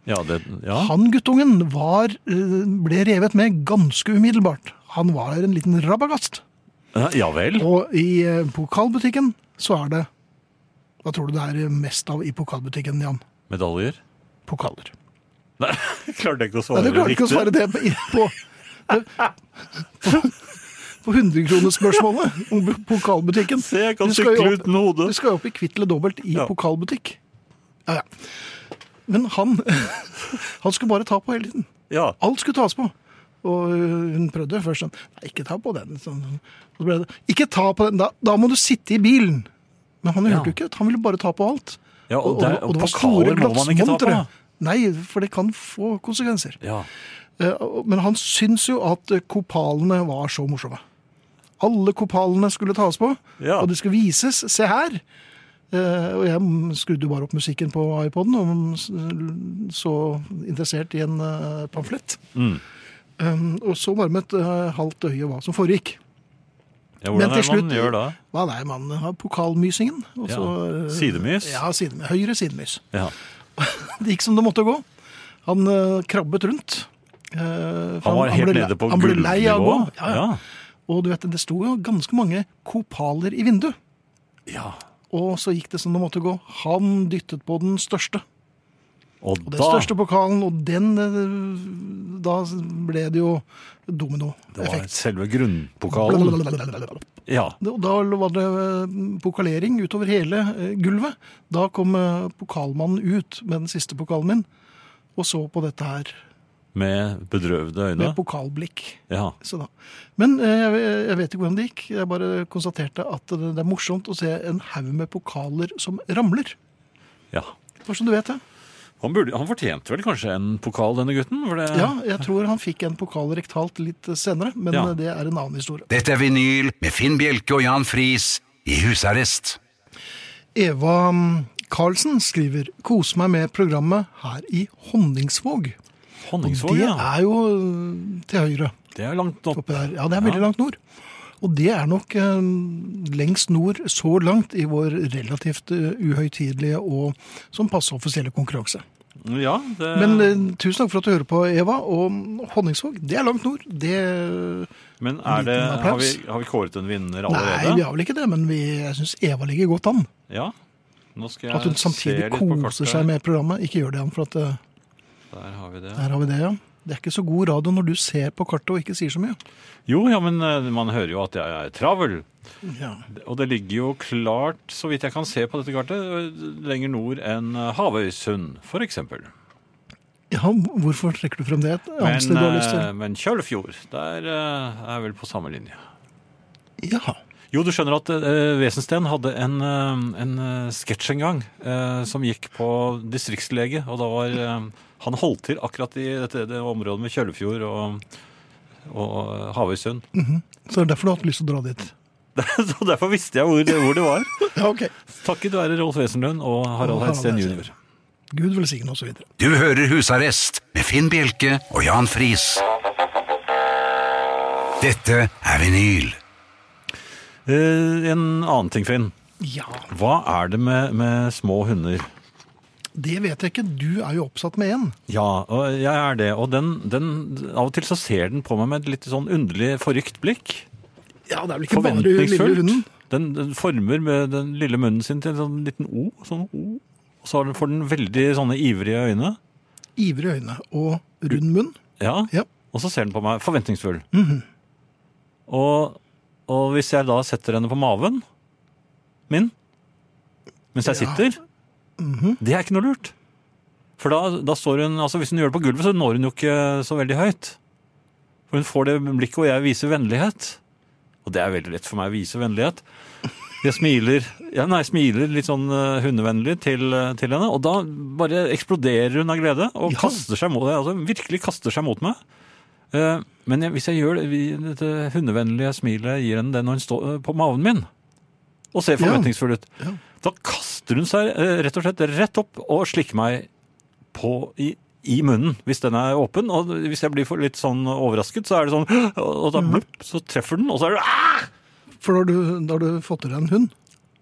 Speaker 3: Ja, det, ja.
Speaker 2: Han guttungen var, eh, ble revet med ganske umiddelbart. Han var en liten rabagast.
Speaker 3: ja vel.
Speaker 2: Og i eh, pokalbutikken så er det Hva tror du det er mest av i pokalbutikken, Jan?
Speaker 3: Medaljer?
Speaker 2: Pokaler.
Speaker 3: Nei, [laughs] klarte jeg ikke å
Speaker 2: Nei,
Speaker 3: svare
Speaker 2: du klarte ikke å svare det på, på, på, på 100-kronersspørsmålet om pokalbutikken.
Speaker 3: Se, jeg kan
Speaker 2: Du skal jo
Speaker 3: sykle
Speaker 2: opp-
Speaker 3: uten hode.
Speaker 2: Du skal jo opp i kvitt eller dobbelt i
Speaker 3: Ja.
Speaker 2: pokalbutikk. Ja, ja. Men han, [laughs] han skulle bare ta på hele tiden.
Speaker 3: Ja.
Speaker 2: Alt skulle tas på. Og hun prøvde først sånn Nei, ikke ta på den. Sånn. Og så ble det, ikke ta på den, da, da må du sitte i bilen. Men han
Speaker 3: Ja.
Speaker 2: hørte jo ikke. Han ville bare ta på alt.
Speaker 3: Ja, og der- pokaler må man ikke ta på.
Speaker 2: glassmontre. Nei, for det kan få konsekvenser.
Speaker 3: ja.
Speaker 2: Eh, og- Men han syns jo at eh, kopalene var så morsomme. Alle kopalene skulle tas på,
Speaker 3: Ja.
Speaker 2: og det skulle vises. Se her! Eh, Og jeg mm, skrudde jo bare opp musikken på iPoden og mm, s- så interessert i en eh, pamflett. Um, og så varmet uh, halvt øye hva som foregikk.
Speaker 3: Ja,
Speaker 2: Men
Speaker 3: hvordan
Speaker 2: til
Speaker 3: er det
Speaker 2: slutt-
Speaker 3: man gjør da?
Speaker 2: Hva nei, man har pokalmysingen. Og
Speaker 3: Ja.
Speaker 2: så, uh,
Speaker 3: Sidemys?
Speaker 2: Ja, sidemys. høyre sidemys.
Speaker 3: Ja.
Speaker 2: Det gikk som det måtte gå. Han eh, krabbet rundt. Eh, for
Speaker 3: Han var helt
Speaker 2: ble le-
Speaker 3: nede på
Speaker 2: han ble lei av å
Speaker 3: gulvnivå.
Speaker 2: gå. Ja, ja. Og du vet, det sto jo ganske mange kopaler i vinduet.
Speaker 3: ja.
Speaker 2: Og så gikk det som det måtte gå. Han dyttet på den største.
Speaker 3: Og
Speaker 2: Og den
Speaker 3: da
Speaker 2: største pokalen, og den eh, Da ble det jo
Speaker 3: Det var
Speaker 2: dominoeffekt.
Speaker 3: selve grunnpokalen.
Speaker 2: Blablabla.
Speaker 3: Ja.
Speaker 2: Og Da var det eh, pokalering utover hele eh, gulvet. Da kom eh, pokalmannen ut med den siste pokalen min, og så på dette her
Speaker 3: Med bedrøvde øyne.
Speaker 2: med pokalblikk.
Speaker 3: Ja.
Speaker 2: Så da. Men eh, jeg, jeg vet ikke hvordan det gikk. Jeg bare konstaterte at det, det er morsomt å se en haug med pokaler som ramler.
Speaker 3: ja.
Speaker 2: Bare så du vet det.
Speaker 3: Han, burde, han fortjente vel kanskje en pokal, denne gutten? For det,
Speaker 2: Ja, jeg tror han fikk en pokal rektalt litt senere, men
Speaker 3: Ja.
Speaker 2: eh, det er en annen historie.
Speaker 1: Dette er vinyl med Finn Bjelke og Jan Friis i husarrest.
Speaker 2: Eva mm, Karlsen skriver Kos meg med programmet her i Honningsvåg.
Speaker 3: Honningsvåg,
Speaker 2: det
Speaker 3: ja.
Speaker 2: er jo øh, til høyre
Speaker 3: Det er langt opp.
Speaker 2: oppe der. Ja, det er veldig langt nord. Og det er nok øh, lengst nord så langt i vår relativt øh, uhøytidelige og som passe offisielle konkurranse.
Speaker 3: Ja, det,
Speaker 2: Men øh, tusen takk for at du hører på, Eva. Og Honningsvåg, det er langt nord. Det
Speaker 3: men er det,
Speaker 2: liten
Speaker 3: har, vi,
Speaker 2: applaus.
Speaker 3: har vi kåret en vinner
Speaker 2: Nei, vi
Speaker 3: allerede?
Speaker 2: har vel ikke det, men vi, jeg syns Eva ligger godt an.
Speaker 3: Ja. Nå skal jeg
Speaker 2: At hun samtidig
Speaker 3: se litt på
Speaker 2: koser
Speaker 3: kartet.
Speaker 2: seg med programmet. Ikke gjør det, Jan, for at øh,
Speaker 3: Der har vi det.
Speaker 2: Der har vi det, ja. Det er ikke så god radio når du ser på kartet og ikke sier så mye.
Speaker 3: Jo, ja, men eh, man hører jo at jeg er travel. Og det ligger jo klart, så vidt jeg kan se på dette kartet, lenger nord enn eh, Havøysund, for eksempel.
Speaker 2: Ja, Hvorfor trekker du frem det? Et annet
Speaker 3: Men,
Speaker 2: sted du har lyst
Speaker 3: eh,
Speaker 2: til?
Speaker 3: men Kjølfjord, der eh, er vel på samme linje.
Speaker 2: Ja.
Speaker 3: Jo, du skjønner at eh, Wesensten hadde en, eh, en eh, sketsj en gang eh, som gikk på distriktslege, og da var eh, han holdt til akkurat i dette det området med Kjølfjord og, og eh, Havøysund. [laughs]
Speaker 2: Så det er derfor du har hatt lyst til å dra dit?
Speaker 3: Så derfor visste jeg hvor det, hvor det var.
Speaker 2: Ja, ok.
Speaker 3: Takket være Rolf Wesenlund og
Speaker 2: Og
Speaker 3: Harald
Speaker 2: Harald
Speaker 3: Heidsten
Speaker 2: Heidsten.
Speaker 3: jr.
Speaker 2: Gud velsigne og så videre.
Speaker 1: Du hører Husarrest med Finn Bjelke og Jan Friis. Dette er vinyl.
Speaker 3: Eh, en annen ting, Finn.
Speaker 2: Ja,
Speaker 3: Hva er det med, med små hunder?
Speaker 2: det vet jeg ikke. Du er jo oppsatt med én.
Speaker 3: Ja, og jeg er det. Og den, den, av og til så ser den på meg med et litt sånn underlig forrykt blikk.
Speaker 2: Ja, det er vel ikke bare lille hunden.
Speaker 3: Forventningsfullt. Den, den former med den lille munnen sin til en sånn liten O. Sånn O. Og så har den- får den veldig sånne ivrige øyne.
Speaker 2: Ivrige øyne og rund munn.
Speaker 3: Ja.
Speaker 2: Ja.
Speaker 3: Og så ser den på meg forventningsfull.
Speaker 2: Mhm.
Speaker 3: og, og hvis jeg da setter henne på maven min mens
Speaker 2: Ja. Mhm.
Speaker 3: jeg sitter, det er ikke noe lurt. For da, da står hun altså Hvis hun gjør det på gulvet, så når hun jo ikke så veldig høyt. For hun får det blikket, og jeg viser vennlighet. Og det er veldig lett for meg å vise vennlighet. Jeg smiler, ja, nei, smiler litt sånn eh, hundevennlig til, eh, til henne, og da bare eksploderer hun av glede og
Speaker 2: Ja.
Speaker 3: kaster seg mot altså virkelig kaster seg mot meg. Eh, Men jeg, hvis jeg gjør det, vi- dette hundevennlige smilet gir henne det når hun står eh, på maven min og ser forventningsfull ut,
Speaker 2: Ja.
Speaker 3: da kaster hun seg eh, rett og slett rett opp og slikker meg på i, i munnen hvis den er åpen. Og hvis jeg blir for litt sånn overrasket, så er det sånn Og
Speaker 2: Mm.
Speaker 3: da blupp, så treffer den, og så er det "Ah!"
Speaker 2: For da har du, da har du fått til deg en hund.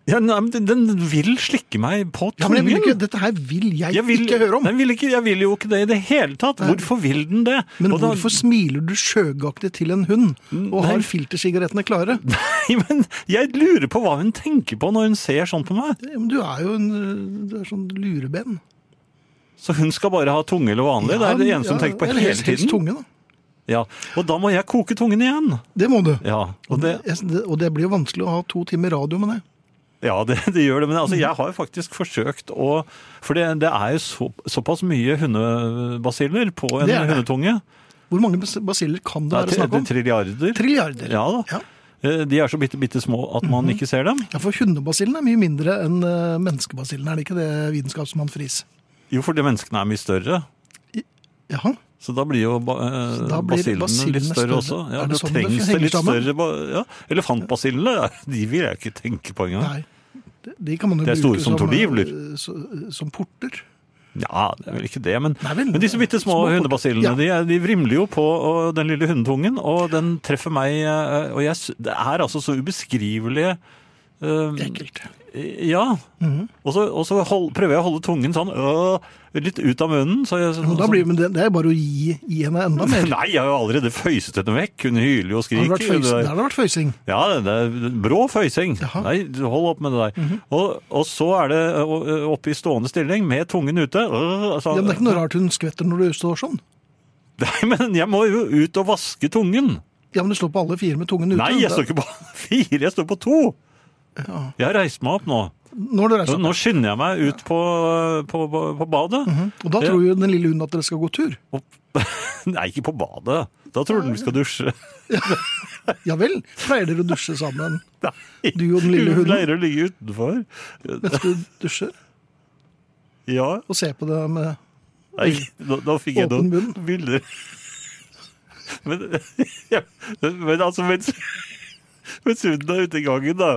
Speaker 3: ja, nei, men den, den vil slikke meg på tungen.
Speaker 2: Ja, men jeg vil ikke, Dette her vil jeg,
Speaker 3: Jeg vil,
Speaker 2: ikke høre om.
Speaker 3: Den vil ikke, jeg vil jo ikke det i det hele tatt. Hvorfor vil den det?
Speaker 2: Men
Speaker 3: Og da- Mm,
Speaker 2: hvorfor smiler du sjøgaktig til en hund og
Speaker 3: Nei.
Speaker 2: har filtersigarettene klare?
Speaker 3: [laughs] Nei, men jeg lurer på hva hun tenker på når hun ser sånn på meg.
Speaker 2: Ja, men Du er jo en øh, du er sånn lureben.
Speaker 3: Så hun skal bare ha tunge eller vanlig? det er det
Speaker 2: Ja,
Speaker 3: eneste hun
Speaker 2: ja,
Speaker 3: tenker på
Speaker 2: eller
Speaker 3: hele
Speaker 2: helst- Helst
Speaker 3: tiden.
Speaker 2: tunge, da.
Speaker 3: Ja, Og da må jeg koke tungen igjen.
Speaker 2: Det må du.
Speaker 3: Ja, og det,
Speaker 2: Jeg- det- og det blir jo vanskelig å ha to timer radio med det.
Speaker 3: ja det, [laughs] det gjør det. Men altså, jeg har faktisk forsøkt å For det, det er jo så, såpass mye hundebasiller på en
Speaker 2: Det er det.
Speaker 3: hundetunge.
Speaker 2: Hvor mange bas- basiller kan det
Speaker 3: Det
Speaker 2: være
Speaker 3: er
Speaker 2: snakk om?
Speaker 3: tri- trilliarder.
Speaker 2: Trilliarder.
Speaker 3: Ja da.
Speaker 2: Ja. Mhm.
Speaker 3: Eh, De er så bitte, bitte små at man ikke ser dem.
Speaker 2: Ja, For hundebasillen er mye mindre enn eh, menneskebasillen, er det ikke det, vitenskapsmann Friis?
Speaker 3: Jo, fordi menneskene er mye større.
Speaker 2: Jaha.
Speaker 3: Så da blir jo ba eh,
Speaker 2: da blir
Speaker 3: basillene
Speaker 2: basillene
Speaker 3: litt større,
Speaker 2: større.
Speaker 3: også. Ja,
Speaker 2: Er det
Speaker 3: da
Speaker 2: sånn det
Speaker 3: trengs det
Speaker 2: henger
Speaker 3: litt
Speaker 2: sammen?
Speaker 3: større ba- ja. Elefantbasillene, ja, [laughs] de vil jeg ikke tenke på engang.
Speaker 2: Nei. De, de kan man jo
Speaker 3: De er
Speaker 2: bruke
Speaker 3: store som
Speaker 2: eh,
Speaker 3: tordivler.
Speaker 2: så- Som porter.
Speaker 3: Ja, det er vel ikke det, men,
Speaker 2: Nei, vel,
Speaker 3: men disse bitte små
Speaker 2: små port-
Speaker 3: hundebasillene,
Speaker 2: Ja.
Speaker 3: de, er- de vrimler jo på og den lille hundetungen, og den treffer meg, eh, og jeg, sy- det er altså så ubeskrivelige eh,
Speaker 2: Ekkelt.
Speaker 3: Ja.
Speaker 2: Mhm.
Speaker 3: Og så, og så hold, prøver jeg å holde tungen sånn øh, litt ut av munnen. Så jeg,
Speaker 2: Men, da blir, men det, det er bare å gi, gi henne enda mer.
Speaker 3: [laughs] Nei, jeg har jo allerede føyset henne vekk. Hun hyler jo og
Speaker 2: Hadde det
Speaker 3: skriker.
Speaker 2: vært føysing, der
Speaker 3: Det er-
Speaker 2: hadde det vært føysing.
Speaker 3: Ja, det er brå føysing.
Speaker 2: Jaha. Mhm.
Speaker 3: Nei, du, hold opp med det der. og, og så er det øh, oppe i stående stilling med tungen ute. Øh,
Speaker 2: Ja,
Speaker 3: sånn.
Speaker 2: men det er ikke noe rart hun skvetter når du står sånn.
Speaker 3: Nei, men jeg må jo ut og vaske tungen.
Speaker 2: Ja, men du står på alle fire med tungen ute.
Speaker 3: Nei, jeg står ikke på [laughs] fire, jeg står på to.
Speaker 2: Ja.
Speaker 3: Jeg har reist meg opp nå.
Speaker 2: Nå har du reist
Speaker 3: Nå,
Speaker 2: deg.
Speaker 3: nå skynder jeg meg ut på, på, på, på badet.
Speaker 2: Og da
Speaker 3: Ja.
Speaker 2: tror jo den lille hunden at dere skal gå tur.
Speaker 3: Opp. [laughs] Nei, ikke på badet. Da tror den vi skal dusje. [laughs]
Speaker 2: Ja vel, pleier dere å dusje sammen
Speaker 3: Nei.
Speaker 2: Du og den lille
Speaker 3: Hun
Speaker 2: hunden?
Speaker 3: pleier å ligge utenfor.
Speaker 2: mens du dusjer?
Speaker 3: Ja.
Speaker 2: Og se på det med
Speaker 3: Nei, da, da fikk jeg
Speaker 2: Åpen
Speaker 3: noen
Speaker 2: munn.
Speaker 3: bilder. Men, ja, men altså, mens, mens hunden er ute i gangen da,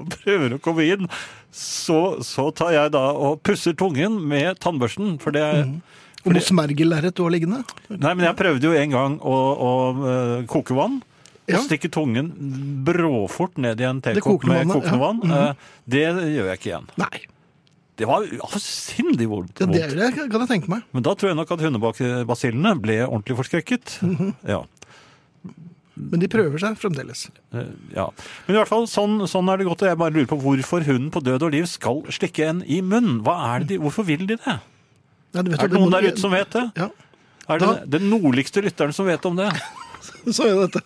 Speaker 3: og prøver å komme inn, så, så tar jeg da og pusser tungen med tannbørsten. For det er
Speaker 2: Mhm. Og mot smergelerret du har liggende?
Speaker 3: Nei, men jeg prøvde jo en gang å, å eh, koke vann.
Speaker 2: Ja.
Speaker 3: Og stikke tungen bråfort ned i en
Speaker 2: Det
Speaker 3: tekopp
Speaker 2: kokende
Speaker 3: med
Speaker 2: vannet,
Speaker 3: kokende
Speaker 2: ja. Mhm.
Speaker 3: vann. Eh, Det gjør jeg ikke igjen.
Speaker 2: Nei.
Speaker 3: Det var avsindig vondt.
Speaker 2: Ja, det
Speaker 3: vondt.
Speaker 2: er det kan jeg tenke meg.
Speaker 3: Men da tror jeg nok at hundebasillene ble ordentlig forskrekket.
Speaker 2: Mhm.
Speaker 3: ja.
Speaker 2: Men de prøver seg fremdeles.
Speaker 3: Eh, ja. Men i hvert fall, sånn, sånn er det godt. og Jeg bare lurer på hvorfor hunden på død og liv skal stikke en i munnen. Hva er det de, Hvorfor vil de det?
Speaker 2: Nei, du vet
Speaker 3: Er
Speaker 2: hva,
Speaker 3: det
Speaker 2: må
Speaker 3: noen der
Speaker 2: du-
Speaker 3: ute som vet det?
Speaker 2: Ja,
Speaker 3: Er
Speaker 2: Da-
Speaker 3: det den nordligste lytteren som vet om det?
Speaker 2: så er dette.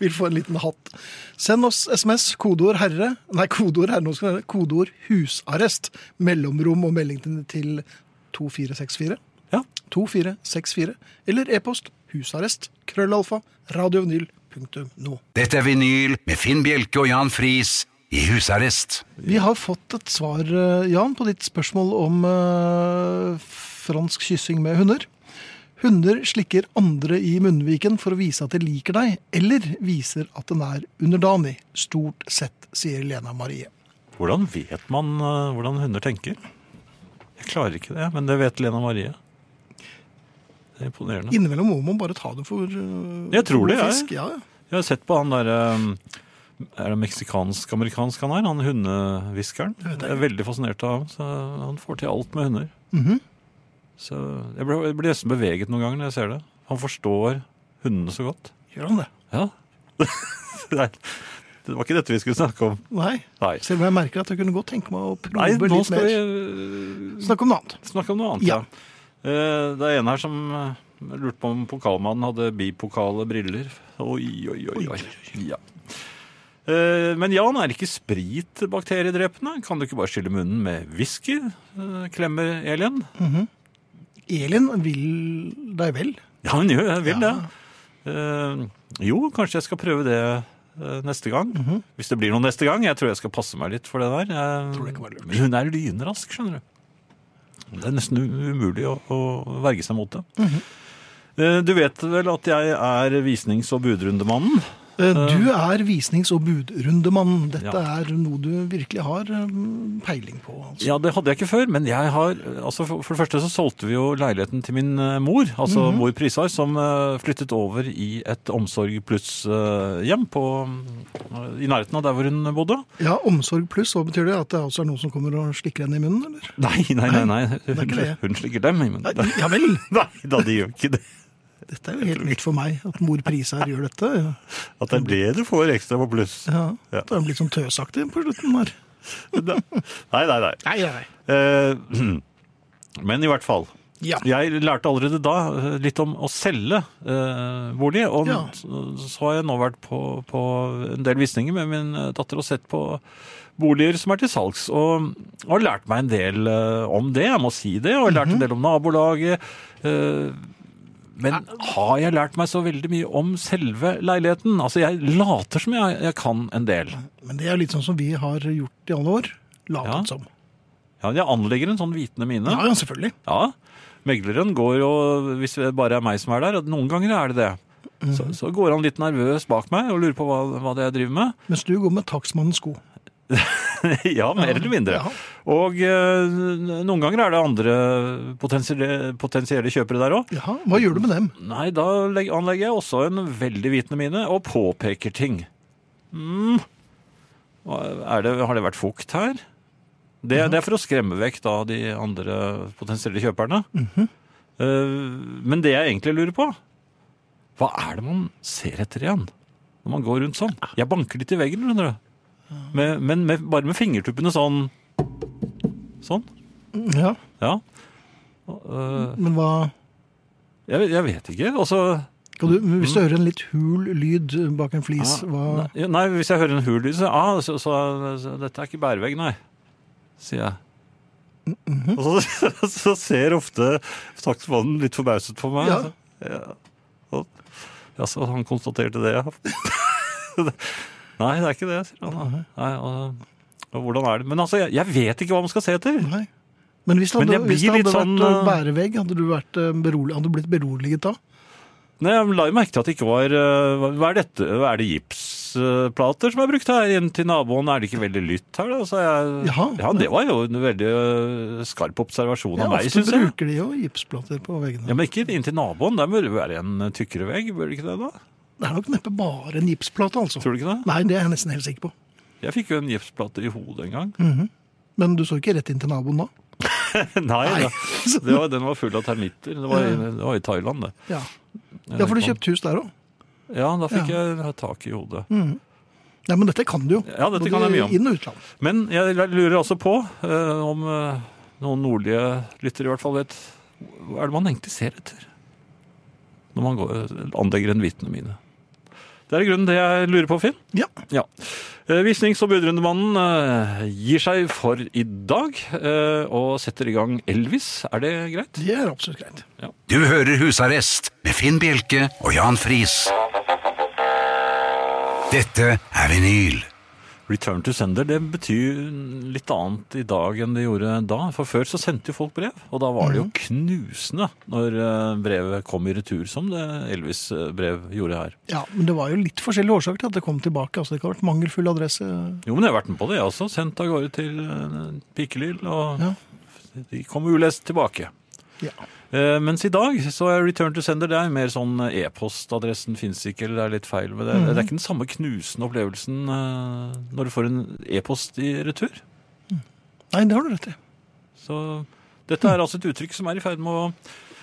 Speaker 2: Vil få en liten hatt. Send oss SMS, kodeord 'herre', nei, kodeord 'herre', nå skal det være kodeord 'husarrest', mellomrom og melding til- til 2464.
Speaker 3: Ja.
Speaker 2: 2464. Eller e-post husarrest, krøllalfa, radiovinyl.no.
Speaker 1: Dette er vinyl med Finn Bjelke og Jan Friis i husarrest.
Speaker 2: Vi har fått et svar, eh, Jan, på ditt spørsmål om eh, fransk kyssing med hunder. Hunder slikker andre i munnviken for å vise at de liker deg, eller viser at den er underdanig. Stort sett, sier Lena Marie.
Speaker 3: Hvordan vet man eh, hvordan hunder tenker? Jeg klarer ikke det, men det vet Lena Marie. Det er imponerende.
Speaker 2: Innimellom må man bare ta det for eh,
Speaker 3: Jeg tror det,
Speaker 2: god
Speaker 3: jeg.
Speaker 2: fisk. Ja. ja.
Speaker 3: Jeg har sett på han derre Er det meksikansk-amerikansk han er? Han hundehviskeren. Jeg er veldig fascinert av ham. så Han får til alt med hunder.
Speaker 2: Mhm.
Speaker 3: Så jeg blir, jeg blir nesten beveget noen ganger når jeg ser det. Han forstår hundene så godt.
Speaker 2: Gjør han det?
Speaker 3: Ja. [laughs] Nei, det var ikke dette vi skulle snakke om.
Speaker 2: Nei.
Speaker 3: Nei.
Speaker 2: Selv om jeg merker at jeg kunne godt tenke meg å probe
Speaker 3: Nei, nå
Speaker 2: litt
Speaker 3: skal
Speaker 2: mer.
Speaker 3: vi øh,
Speaker 2: Snakk om noe annet.
Speaker 3: snakke om noe annet.
Speaker 2: Ja.
Speaker 3: Ja. Eh, Det er en her som eh, lurte på om pokalmannen hadde bipokale briller. Oi, oi, oi. oi. Ja. Eh, Men Jan, er ikke sprit bakteriedrepende? Kan du ikke bare skylle munnen med whisky? eh, Klemmer Elin.
Speaker 2: Elin vil deg vel?
Speaker 3: Ja, hun gjør jeg vil det. Eh, Jo, kanskje jeg skal prøve det eh, neste gang.
Speaker 2: Mhm.
Speaker 3: Hvis det blir noe neste gang. Jeg tror jeg skal passe meg litt for det der. Jeg-
Speaker 2: Tror det kan være lurt.
Speaker 3: Men hun er lynrask, skjønner du. Det er nesten u- umulig å, å verge seg mot det.
Speaker 2: Mhm.
Speaker 3: Eh, Du vet vel at jeg er visnings- og budrundemannen?
Speaker 2: Eh, Du er visnings- og budrundemannen. Dette
Speaker 3: Ja.
Speaker 2: er noe du virkelig har eh, peiling på. Altså.
Speaker 3: Ja, det hadde jeg ikke før, men jeg har altså For for det første så solgte vi jo leiligheten til min eh, mor, altså mor Prisar, som eh, flyttet over i et Omsorg eh, pluss-hjem eh, i nærheten av der hvor hun bodde.
Speaker 2: Ja, Omsorg pluss, hva betyr det? At det også er noen som kommer og slikker henne i munnen, eller?
Speaker 3: Nei, nei, nei. nei.
Speaker 2: er ikke
Speaker 3: Hun,
Speaker 2: det.
Speaker 3: hun slikker dem. Men,
Speaker 2: Nei, ja vel!
Speaker 3: [laughs] nei da, de gjør ikke det.
Speaker 2: Dette er jo helt nytt for meg, at mor Prisar gjør dette. Ja.
Speaker 3: At det er det du får ekstra på [laughs] pluss.
Speaker 2: Ja.
Speaker 3: Ja.
Speaker 2: Det er blitt sånn tøsaktig på slutten her.
Speaker 3: Nei, nei, nei.
Speaker 2: Nei, nei, nei.
Speaker 3: Eh, [clears throat] men i hvert fall.
Speaker 2: Ja.
Speaker 3: Jeg lærte allerede da eh, litt om å selge eh, bolig, og
Speaker 2: Ja.
Speaker 3: så, så har jeg nå vært på, på en del visninger med min eh, datter og sett på boliger som er til salgs, og og har lært meg en del eh, om det, jeg må si det, og jeg har lært
Speaker 2: Mhm.
Speaker 3: en del om nabolaget. eh, men har jeg lært meg så veldig mye om selve leiligheten? Altså, jeg later som jeg, jeg kan en del.
Speaker 2: Men det er jo litt sånn som vi har gjort i alle år. Latet
Speaker 3: Ja.
Speaker 2: som.
Speaker 3: Ja, jeg anlegger en sånn vitende mine.
Speaker 2: Ja, ja, selvfølgelig.
Speaker 3: Ja, megleren går jo, hvis det bare er meg som er der, og noen ganger er det det. Mhm. Så, så går han litt nervøs bak meg og lurer på hva, hva det er jeg driver med.
Speaker 2: Mens du går med takstmannens sko.
Speaker 3: [laughs] ja, mer eller mindre.
Speaker 2: Ja.
Speaker 3: Og eh, noen ganger er det andre potensielle, potensielle kjøpere der òg.
Speaker 2: Ja, Hva gjør du med dem?
Speaker 3: Nei, da legg- anlegger jeg også en veldig vitende mine og påpeker ting. Mm. Er det, har det vært fukt her? Det, det er for å skremme vekk da de andre potensielle kjøperne. Eh, men det jeg egentlig lurer på, hva er det man ser etter igjen? Når man går rundt sånn. Jeg banker litt i veggen, skjønner du. Med, men med, bare med fingertuppene sånn. Sånn.
Speaker 2: Ja,
Speaker 3: Ja. Eh,
Speaker 2: men hva
Speaker 3: jeg, jeg vet ikke. Altså
Speaker 2: kan du, Hvis du hører en litt hul lyd bak en flis,
Speaker 3: Ah,
Speaker 2: hva
Speaker 3: Nei, nei, hvis jeg hører en hul lyd, så, ah, så, så, så Dette er ikke bærevegg, nei, sier jeg.
Speaker 2: Mm-hmm.
Speaker 3: Og så, [laughs] så ser ofte takstmannen litt forbauset på meg.
Speaker 2: Ja.
Speaker 3: Ja. Ja. Og, ja, så han konstaterte det, ja. [laughs] nei, det er ikke det, sier han. Nei, og, og hvordan er det? Men altså, jeg, jeg vet ikke hva man skal se etter.
Speaker 2: Nei. Men hvis det
Speaker 3: Men
Speaker 2: hadde,
Speaker 3: jeg
Speaker 2: hvis det
Speaker 3: blir
Speaker 2: hadde
Speaker 3: litt sånn,
Speaker 2: vært eh,
Speaker 3: eh,
Speaker 2: bærevegg, hadde du, vært eh, berolig, hadde du blitt beroliget da?
Speaker 3: Nei, jeg la jo merke til at det ikke var eh, hva- Hva er dette? Er det gipsplater som er brukt her inn til naboen? Er det ikke veldig lytt her, da? Så jeg,
Speaker 2: Jaha.
Speaker 3: ja, det var jo en veldig eh, skarp observasjon
Speaker 2: Ja,
Speaker 3: av meg,
Speaker 2: ofte
Speaker 3: syns jeg.
Speaker 2: bruker de jo gipsplater på veggene.
Speaker 3: Ja, Men ikke inn til naboen. Der bør det være en eh, tykkere vegg, bør det ikke det? da?
Speaker 2: Det er nok neppe bare en gipsplate, altså.
Speaker 3: Tror du ikke det?
Speaker 2: Nei, det er jeg nesten helt sikker på.
Speaker 3: Jeg fikk jo en gipsplate i hodet en gang.
Speaker 2: Men du så ikke rett inn til naboen da? Mm.
Speaker 3: [laughs] Nei, da. Det var, den var full av termitter. Det var, i- det var i Thailand, det.
Speaker 2: Ja, ja for du kjøpte Mm. hus der òg.
Speaker 3: Ja, da fikk jeg tak i hodet.
Speaker 2: Nei, men dette kan du jo.
Speaker 3: Ja, dette kan jeg mye om.
Speaker 2: Inn- og utland.
Speaker 3: Men jeg lurer også på eh, om eh, noen nordlige lyttere i hvert fall vet hva er det man egentlig ser etter når man går, anlegger en vitne mine. Det er i grunnen det jeg lurer på, Finn.
Speaker 2: Ja.
Speaker 3: Ja. Eh, Visnings- og budrundemannen eh, gir seg for i dag eh, og setter i gang Elvis. Er det greit?
Speaker 2: Det er absolutt greit.
Speaker 1: Du hører Husarrest med Finn Bjelke og Jan Friis. Dette er vinyl.
Speaker 3: Return to sender det betyr litt annet i dag enn det gjorde da. For før så sendte jo folk brev, og da var det jo
Speaker 2: Mhm.
Speaker 3: knusende når eh, brevet kom i retur, som det Elvis-brev gjorde her.
Speaker 2: Ja, Men det var jo litt forskjellige årsaker til at det kom tilbake. altså Det kan ha vært mangelfull adresse.
Speaker 3: Jo, men jeg har vært med på det, jeg også. Sendt av gårde til eh, Pikkelil, og
Speaker 2: Ja.
Speaker 3: de kom ulest tilbake.
Speaker 2: ja.
Speaker 3: Eh, mens i dag så er Return to Sender det er mer sånn eh, e-postadressen fins ikke, eller det er litt feil med det.
Speaker 2: Mhm.
Speaker 3: Det er ikke den samme knusende opplevelsen eh, når du får en e-post i retur.
Speaker 2: Nei, det har du rett i.
Speaker 3: Så dette er altså et uttrykk som er i ferd med å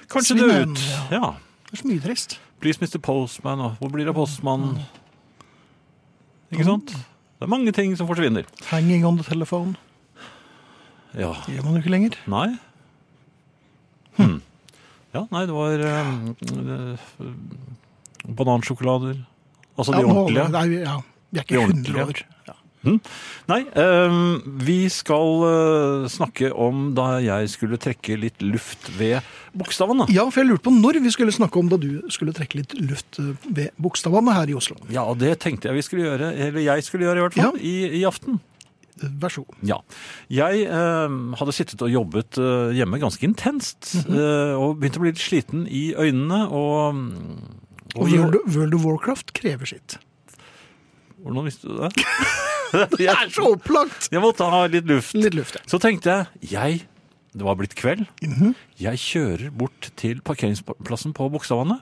Speaker 3: kanskje
Speaker 2: Svinne
Speaker 3: dø
Speaker 2: hen,
Speaker 3: ut.
Speaker 2: ja.
Speaker 3: Ja.
Speaker 2: Det er så mye trist.
Speaker 3: Please Mr. Postman, og hvor blir det av
Speaker 2: Mm.
Speaker 3: postmannen? Ikke sant? Det er mange ting som forsvinner.
Speaker 2: Hanging on the telephone.
Speaker 3: Ja.
Speaker 2: Det gjør man jo ikke lenger.
Speaker 3: Nei. Hm. Ja, nei, det var eh, eh, banansjokolader. Altså de
Speaker 2: Ja, nå-
Speaker 3: ordentlige.
Speaker 2: Nei, vi- ja. Vi er
Speaker 3: De
Speaker 2: ikke 100
Speaker 3: ordentlige.
Speaker 2: år. Ja.
Speaker 3: Nei, øhm, vi skal øh, snakke om da jeg skulle trekke litt luft ved bokstavene.
Speaker 2: ja, for jeg lurte på når vi skulle snakke om da du skulle trekke litt luft eh, ved bokstavene her i Oslo.
Speaker 3: Ja, det tenkte jeg vi skulle gjøre, eller jeg skulle gjøre i hvert fall, i, i
Speaker 2: Eh,
Speaker 3: aften.
Speaker 2: Vær så god.
Speaker 3: Ja. Jeg øhm, hadde sittet og jobbet øh, hjemme ganske intenst, øh, og begynte å bli litt sliten i øynene, og...
Speaker 2: Og World, World of Warcraft krever sitt.
Speaker 3: Hvordan visste du det? [laughs]
Speaker 2: Det er så opplagt!
Speaker 3: Jeg måtte ha litt luft.
Speaker 2: Litt luft, ja.
Speaker 3: Så tenkte jeg, jeg, det var blitt kveld, jeg kjører bort til parkeringsplassen på bokstavene,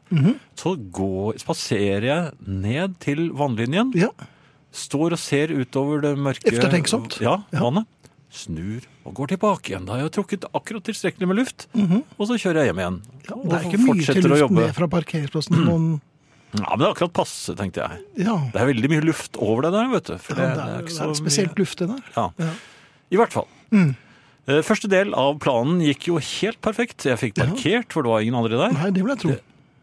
Speaker 3: så går, spaserer jeg ned til vannlinjen,
Speaker 2: Ja.
Speaker 3: står og ser utover det mørke
Speaker 2: Eftertenksomt.
Speaker 3: Ja, vannet. Snur og går tilbake igjen. Da har jeg trukket akkurat tilstrekkelig med luft, og så kjører jeg hjem igjen.
Speaker 2: Mhm. Ja,
Speaker 3: Og
Speaker 2: det er ikke mye
Speaker 3: fortsetter
Speaker 2: til
Speaker 3: å
Speaker 2: luft
Speaker 3: jobbe.
Speaker 2: ned fra parkeringsplassen. Noen,
Speaker 3: Ja, men det er akkurat passe, tenkte jeg.
Speaker 2: ja,
Speaker 3: Det er veldig mye luft over det der, vet du. For
Speaker 2: det, er, det er spesielt Mm. luft i det.
Speaker 3: Ja.
Speaker 2: Ja.
Speaker 3: I hvert fall. Eh, Første del av planen gikk jo helt perfekt. Jeg fikk parkert, for det var ingen andre der.
Speaker 2: Nei, det vil jeg tro.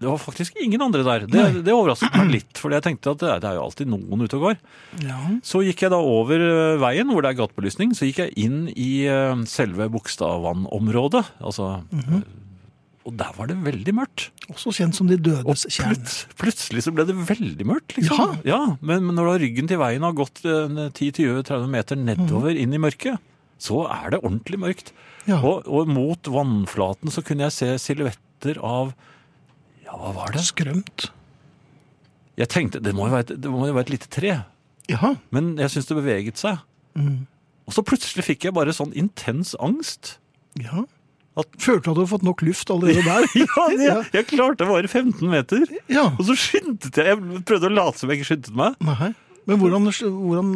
Speaker 3: Det var faktisk ingen andre der. Det, det overrasket meg litt, for jeg tenkte at det er, det er jo alltid noen ute og går.
Speaker 2: Ja.
Speaker 3: Så gikk jeg da over eh, veien hvor det er gatebelysning, så gikk jeg inn i eh, selve Bogstadvannområdet. Altså, eh, og der var det veldig mørkt.
Speaker 2: Også kjent som de
Speaker 3: Og
Speaker 2: dødes kjerne.
Speaker 3: plut, plutselig så ble det veldig mørkt, liksom. Ja, men, men når da ryggen til veien har gått eh, 10-20-30 meter nedover inn i mørket, så er det ordentlig mørkt.
Speaker 2: Ja.
Speaker 3: Og, og mot vannflaten så kunne jeg se silhuetter av Ja, hva var det?
Speaker 2: Skrømt.
Speaker 3: Jeg tenkte det må jo være et, det må jo være et lite tre.
Speaker 2: Ja.
Speaker 3: Men jeg syns det beveget seg. Og så plutselig fikk jeg bare sånn intens angst.
Speaker 2: Ja.
Speaker 3: At-
Speaker 2: Følte du at du hadde fått nok luft allerede der?
Speaker 3: Ja,
Speaker 2: Ja.
Speaker 3: jeg, jeg klarte bare 15 meter.
Speaker 2: [laughs] ja.
Speaker 3: Og så skyndte jeg. Jeg prøvde å late som jeg ikke skyndte meg.
Speaker 2: Nei. Men hvordan, hvordan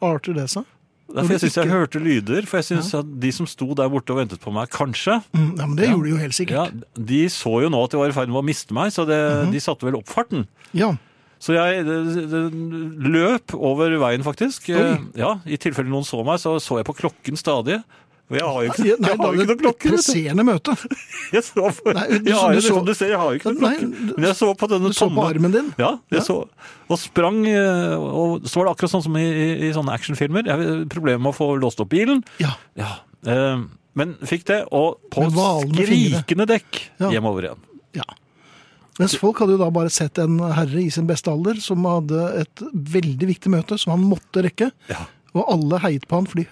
Speaker 2: arter det seg?
Speaker 3: Derfor jeg syns jeg hørte lyder. For jeg syns at de som sto der borte og ventet på meg, kanskje
Speaker 2: Mm, ja, men det gjorde de jo helt
Speaker 3: ja,
Speaker 2: sikkert.
Speaker 3: De så jo nå at de var i ferd med å miste meg, så det, de satte vel opp farten.
Speaker 2: Ja.
Speaker 3: [laughs] Så jeg det, det, løp over veien, faktisk.
Speaker 2: Oi.
Speaker 3: Ja, I tilfelle noen så meg, så så jeg på klokken stadig. Og jeg har jo ikke,
Speaker 2: Nei,
Speaker 3: jeg har jo
Speaker 2: det
Speaker 3: ikke noen
Speaker 2: var et
Speaker 3: klokke! vet du.
Speaker 2: presserende møte.
Speaker 3: Jeg, så på,
Speaker 2: Nei, du-
Speaker 3: jeg har jo
Speaker 2: du
Speaker 3: det,
Speaker 2: så-
Speaker 3: som du ser, jeg har jo ikke noen
Speaker 2: Nei,
Speaker 3: klokke.
Speaker 2: du-
Speaker 3: Men jeg så på denne
Speaker 2: Du så på
Speaker 3: tomme-
Speaker 2: armen din?
Speaker 3: Ja, jeg
Speaker 2: Ja.
Speaker 3: så, og sprang, eh, og så var det akkurat sånn som i, i, i sånne actionfilmer. Jeg- Problemet med å få låst opp bilen.
Speaker 2: Ja.
Speaker 3: Ja, eh, men fikk det, og på
Speaker 2: Med valende fingre.
Speaker 3: skrikende dekk
Speaker 2: Ja.
Speaker 3: hjemover igjen.
Speaker 2: ja. Mens folk hadde jo da bare sett en herre i sin beste alder som hadde et veldig viktig møte som han måtte rekke.
Speaker 3: Ja.
Speaker 2: Og alle heiet på han, for de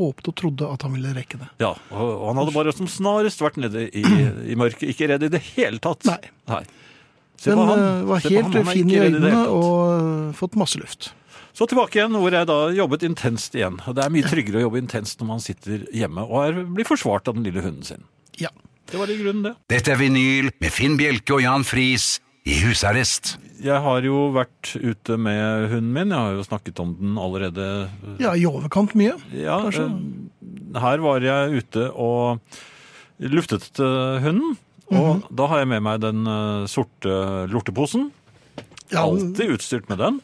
Speaker 2: håpte og trodde at han ville rekke det.
Speaker 3: Ja, og og han hadde bare som snarest vært nede i, i mørket. Ikke redd i det hele tatt.
Speaker 2: Nei.
Speaker 3: Se
Speaker 2: Den
Speaker 3: på han.
Speaker 2: eh, var
Speaker 3: Se på
Speaker 2: helt
Speaker 3: han, han er
Speaker 2: fin
Speaker 3: ikke
Speaker 2: i
Speaker 3: redd det
Speaker 2: øynene
Speaker 3: hele tatt.
Speaker 2: og eh, fått masse luft.
Speaker 3: Så tilbake igjen, hvor jeg da jobbet intenst igjen. Og Det er mye tryggere å jobbe intenst når man sitter hjemme og er, blir forsvart av den lille hunden sin.
Speaker 2: Ja.
Speaker 3: Det var i grunnen det.
Speaker 1: Dette er vinyl med Finn Bjelke og Jan Friis i husarrest.
Speaker 3: Jeg har jo vært ute med hunden min. Jeg har jo snakket om den allerede.
Speaker 2: ja, i overkant mye.
Speaker 3: Ja,
Speaker 2: Kanskje.
Speaker 3: eh, her var jeg ute og luftet eh, hunden. Og da har jeg med meg den eh, sorte lorteposen.
Speaker 2: Ja, men-
Speaker 3: Alltid utstyrt med den.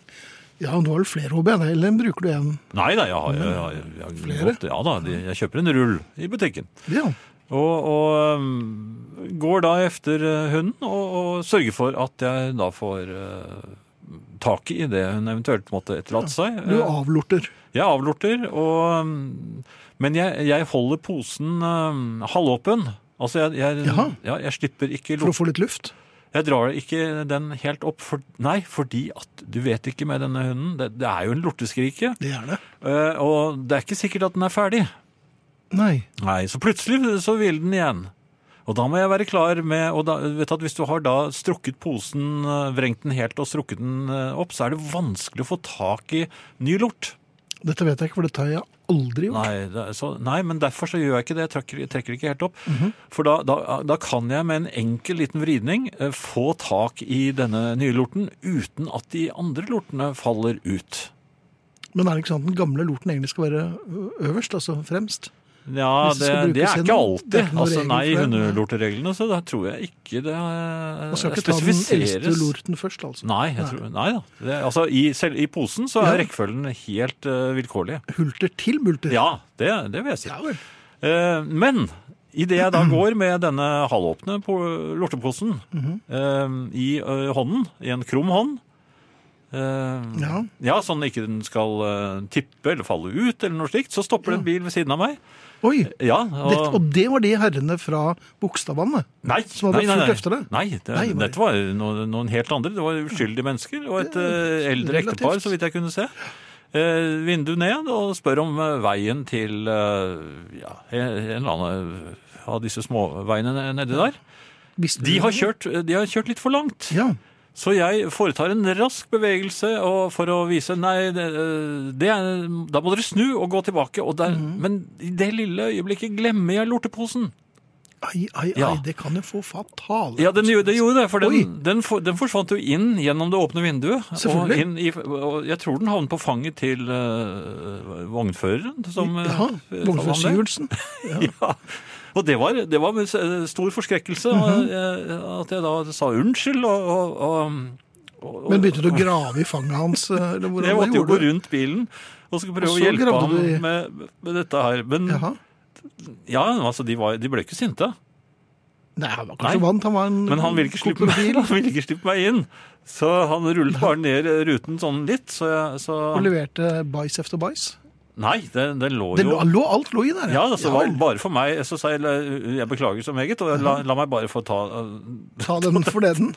Speaker 2: ja men du har vel flere HB, eller bruker du én?
Speaker 3: Nei da, jeg har, jeg, jeg, jeg,
Speaker 2: Flere?
Speaker 3: godt- ja, da, de- jeg kjøper en rull i butikken.
Speaker 2: Ja.
Speaker 3: Og, og øhm, går da efter øh, hunden og, og sørger for at jeg da får øh, tak i det hun eventuelt måtte etterlate seg. Uh,
Speaker 2: Du avlorter.
Speaker 3: Jeg avlorter, og, øhm, men jeg, jeg holder posen øhm, halvåpen. Altså, jeg, jeg,
Speaker 2: Jaha.
Speaker 3: ja, jeg slipper ikke
Speaker 2: For å
Speaker 3: lort.
Speaker 2: få litt luft?
Speaker 3: Jeg drar ikke den helt opp. For, nei, fordi at du vet ikke med denne hunden. Det, det er jo en lorteskrike.
Speaker 2: Det er det.
Speaker 3: øh, Og det er ikke sikkert at den er ferdig.
Speaker 2: Nei.
Speaker 3: Nei, så plutselig så vil den igjen. Og da må jeg være klar med og da, vet du, at Hvis du har da strukket posen, eh, vrengt den helt og strukket den eh, opp, så er det vanskelig å få tak i ny lort.
Speaker 2: Dette vet jeg ikke, for dette har jeg aldri gjort.
Speaker 3: Nei, det, er så, nei men derfor så gjør jeg ikke det. Jeg trekker, jeg trekker ikke helt opp. For da, da, da kan jeg med en enkel liten vridning eh, få tak i denne nye lorten uten at de andre lortene faller ut.
Speaker 2: Men er det ikke sånn at den gamle lorten egentlig skal være ø- øverst, altså fremst?
Speaker 3: Ja,
Speaker 2: Hvis det
Speaker 3: det,
Speaker 2: skal brukes i
Speaker 3: det er ikke
Speaker 2: noe-
Speaker 3: alltid.
Speaker 2: det er ikke noe
Speaker 3: altså,
Speaker 2: regel
Speaker 3: nei, i
Speaker 2: for det.
Speaker 3: hundelortereglene så da tror jeg ikke det eh,
Speaker 2: Man skal ikke ta den eldste
Speaker 3: spesifiseres.
Speaker 2: lorten først, altså.
Speaker 3: Nei, jeg tror, nei da. Det, altså, i, selv i posen så er rekkefølgen helt eh, vilkårlig.
Speaker 2: Hulter til bulter.
Speaker 3: Ja, det, det vil jeg si.
Speaker 2: Ja vel.
Speaker 3: Eh, men
Speaker 2: [clears throat]
Speaker 3: idet jeg da går med denne halvåpne po- lorteposen
Speaker 2: Mhm.
Speaker 3: eh, i eh, hånden, i en krum hånd eh,
Speaker 2: Ja.
Speaker 3: sånn ikke den skal eh, tippe eller falle ut, eller noe slikt. Så stopper det en bil ved siden av meg.
Speaker 2: Oi!
Speaker 3: Ja,
Speaker 2: Det, og det var de herrene fra Bogstadvannet.
Speaker 3: Nei,
Speaker 2: Som hadde
Speaker 3: nei, nei,
Speaker 2: fulgt
Speaker 3: nei.
Speaker 2: efter deg?
Speaker 3: Nei, det,
Speaker 2: Nei, var det-
Speaker 3: dette var noen, noen helt andre. Det var uskyldige mennesker og et eh, eldre
Speaker 2: relativt.
Speaker 3: ektepar, så vidt jeg kunne se. Eh, vindu ned og spør om eh, veien til eh, ja, en eller annen eh, av disse småveiene nedi der.
Speaker 2: Visste
Speaker 3: De
Speaker 2: du
Speaker 3: har
Speaker 2: det?
Speaker 3: kjørt, eh, de har kjørt litt for langt.
Speaker 2: Ja.
Speaker 3: Så jeg foretar en rask bevegelse og for å vise Nei, det, eh, det er, da må dere snu og gå tilbake. Og der,
Speaker 2: Mhm.
Speaker 3: Men i det lille øyeblikket glemmer jeg lorteposen.
Speaker 2: Ai, ai, ai,
Speaker 3: Ja.
Speaker 2: det kan jo få fatale
Speaker 3: Ja, den gjorde, det gjorde det, for
Speaker 2: Oi.
Speaker 3: den, den, for, den forsvant jo inn gjennom det åpne vinduet. Og,
Speaker 2: Selvfølgelig.
Speaker 3: inn i, og jeg tror den havnet på fanget til eh, vognføreren. Som, eh,
Speaker 2: Ja,
Speaker 3: eh,
Speaker 2: Vognfjord
Speaker 3: sa han det.
Speaker 2: Syvertsen.
Speaker 3: Ja. Og det var, det var med eh, stor forskrekkelse
Speaker 2: Mhm.
Speaker 3: eh, at jeg da sa unnskyld og, og, og, og
Speaker 2: Men begynte du å grave i fanget hans? eh, Eller hvordan
Speaker 3: [laughs] Jeg måtte jo
Speaker 2: gjorde
Speaker 3: gå
Speaker 2: du?
Speaker 3: rundt bilen og skulle prøve
Speaker 2: Og
Speaker 3: å
Speaker 2: så
Speaker 3: hjelpe
Speaker 2: gravde
Speaker 3: ham
Speaker 2: du i-
Speaker 3: med, med dette her. Men
Speaker 2: Jaha.
Speaker 3: ja, altså, de, var, de ble ikke sinte.
Speaker 2: Nei, han var
Speaker 3: Nei.
Speaker 2: kanskje vant. Han var en
Speaker 3: Men han ville ikke slippe meg,
Speaker 2: krokodil,
Speaker 3: [laughs] han ville ikke slippe meg inn. Så han rullet bare ned ruten sånn litt, så jeg så...
Speaker 2: Og leverte bæsj etter bæsj.
Speaker 3: Nei, den, den lå
Speaker 2: Det
Speaker 3: jo
Speaker 2: lå, lå alt lå i der.
Speaker 3: Ja, altså,
Speaker 2: vel.
Speaker 3: bare for meg Så sa jeg jeg beklager så meget, og la, la meg bare få ta
Speaker 2: Ta den for den.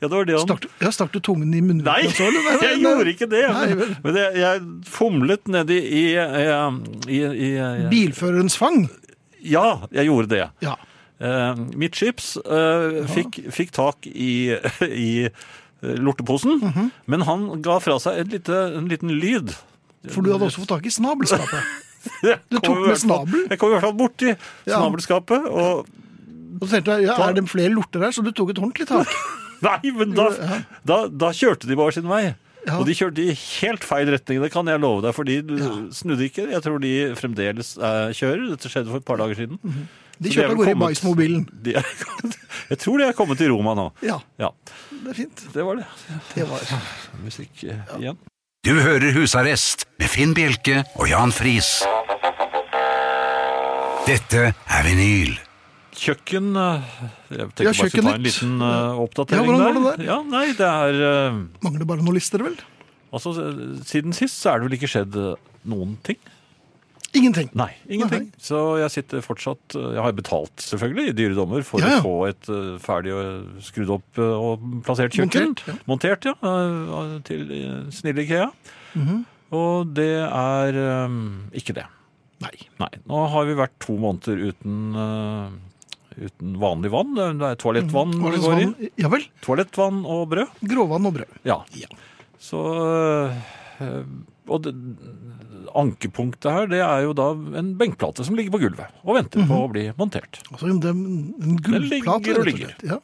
Speaker 3: Ja, det var det han
Speaker 2: Stakk, du- ja, stakk du tungen i munnen?
Speaker 3: Nei,
Speaker 2: så, eller? Nei, nei,
Speaker 3: [laughs] jeg
Speaker 2: nei.
Speaker 3: gjorde ikke det.
Speaker 2: Nei,
Speaker 3: Men,
Speaker 2: vel.
Speaker 3: men jeg, jeg fomlet nedi i, i, i, i, i
Speaker 2: Bilførerens fang?
Speaker 3: Ja, jeg gjorde det.
Speaker 2: Ja.
Speaker 3: Eh, mitt chips eh, fikk, fikk tak i, [laughs]
Speaker 2: Mhm.
Speaker 3: i eh, lorteposen, men han ga fra seg en, lite, en liten lyd
Speaker 2: For du hadde også fått tak i
Speaker 3: [laughs]
Speaker 2: snabelskapet. Du tok med snabel?
Speaker 3: Jeg kom i hvert fall borti
Speaker 2: Ja.
Speaker 3: snabelskapet, og
Speaker 2: Og så tenkte jeg, ja, er det flere lorter her? Så du tok et ordentlig
Speaker 3: [laughs]
Speaker 2: tak.
Speaker 3: Nei, men da, da, da kjørte de bare sin vei.
Speaker 2: Ja.
Speaker 3: Og de kjørte i helt feil retning, det kan jeg love deg, for de snudde ikke. Jeg tror de fremdeles eh, kjører. Dette skjedde for et par dager siden.
Speaker 2: De
Speaker 3: Så er
Speaker 2: kjørte
Speaker 3: vel
Speaker 2: av gårde i
Speaker 3: kommet-
Speaker 2: Bais-mobilen.
Speaker 3: De er- [laughs] Jeg tror de er kommet til Roma nå.
Speaker 2: Ja,
Speaker 3: Ja,
Speaker 2: det er fint.
Speaker 3: det var det.
Speaker 2: Det var
Speaker 3: Musikk eh, igjen.
Speaker 1: Du hører Husarrest med Finn Bjelke og Jan Friis. Dette er vinyl.
Speaker 3: Kjøkken eh, Jeg tenkte
Speaker 2: Ja,
Speaker 3: bare jeg skulle ta en
Speaker 2: Kjøkkennytt.
Speaker 3: liten eh,
Speaker 2: Ja,
Speaker 3: oppdatering
Speaker 2: hvordan var det
Speaker 3: der.
Speaker 2: der?
Speaker 3: Ja, nei, det er eh,
Speaker 2: Mangler bare noen lister, vel?
Speaker 3: Altså, eh, siden sist så er det vel ikke skjedd eh, noen ting.
Speaker 2: Ingenting.
Speaker 3: Nei, ingenting.
Speaker 2: Nei.
Speaker 3: Så jeg sitter fortsatt eh, Jeg har betalt selvfølgelig i dyre dommer for
Speaker 2: Ja, ja.
Speaker 3: å få et eh, ferdig og skrudd opp eh, og plassert kjøkken.
Speaker 2: Montert, ja.
Speaker 3: Montert, ja. eh, til eh, snille IKEA.
Speaker 2: Mhm.
Speaker 3: Og det er eh, ikke det.
Speaker 2: Nei.
Speaker 3: Nei. Nå har vi vært to måneder uten eh, Uten vanlig vann. Det er toalettvann
Speaker 2: Var det
Speaker 3: det går i.
Speaker 2: sånn? Ja vel.
Speaker 3: Toalettvann og brød.
Speaker 2: Gråvann og brød.
Speaker 3: Ja. Så øh, Og det, ankepunktet her, det er jo da en benkplate som ligger på gulvet og venter på å bli montert.
Speaker 2: Altså, det er en
Speaker 3: ligger og
Speaker 2: gullplate, rett og
Speaker 3: ligger.
Speaker 2: slett. Ja.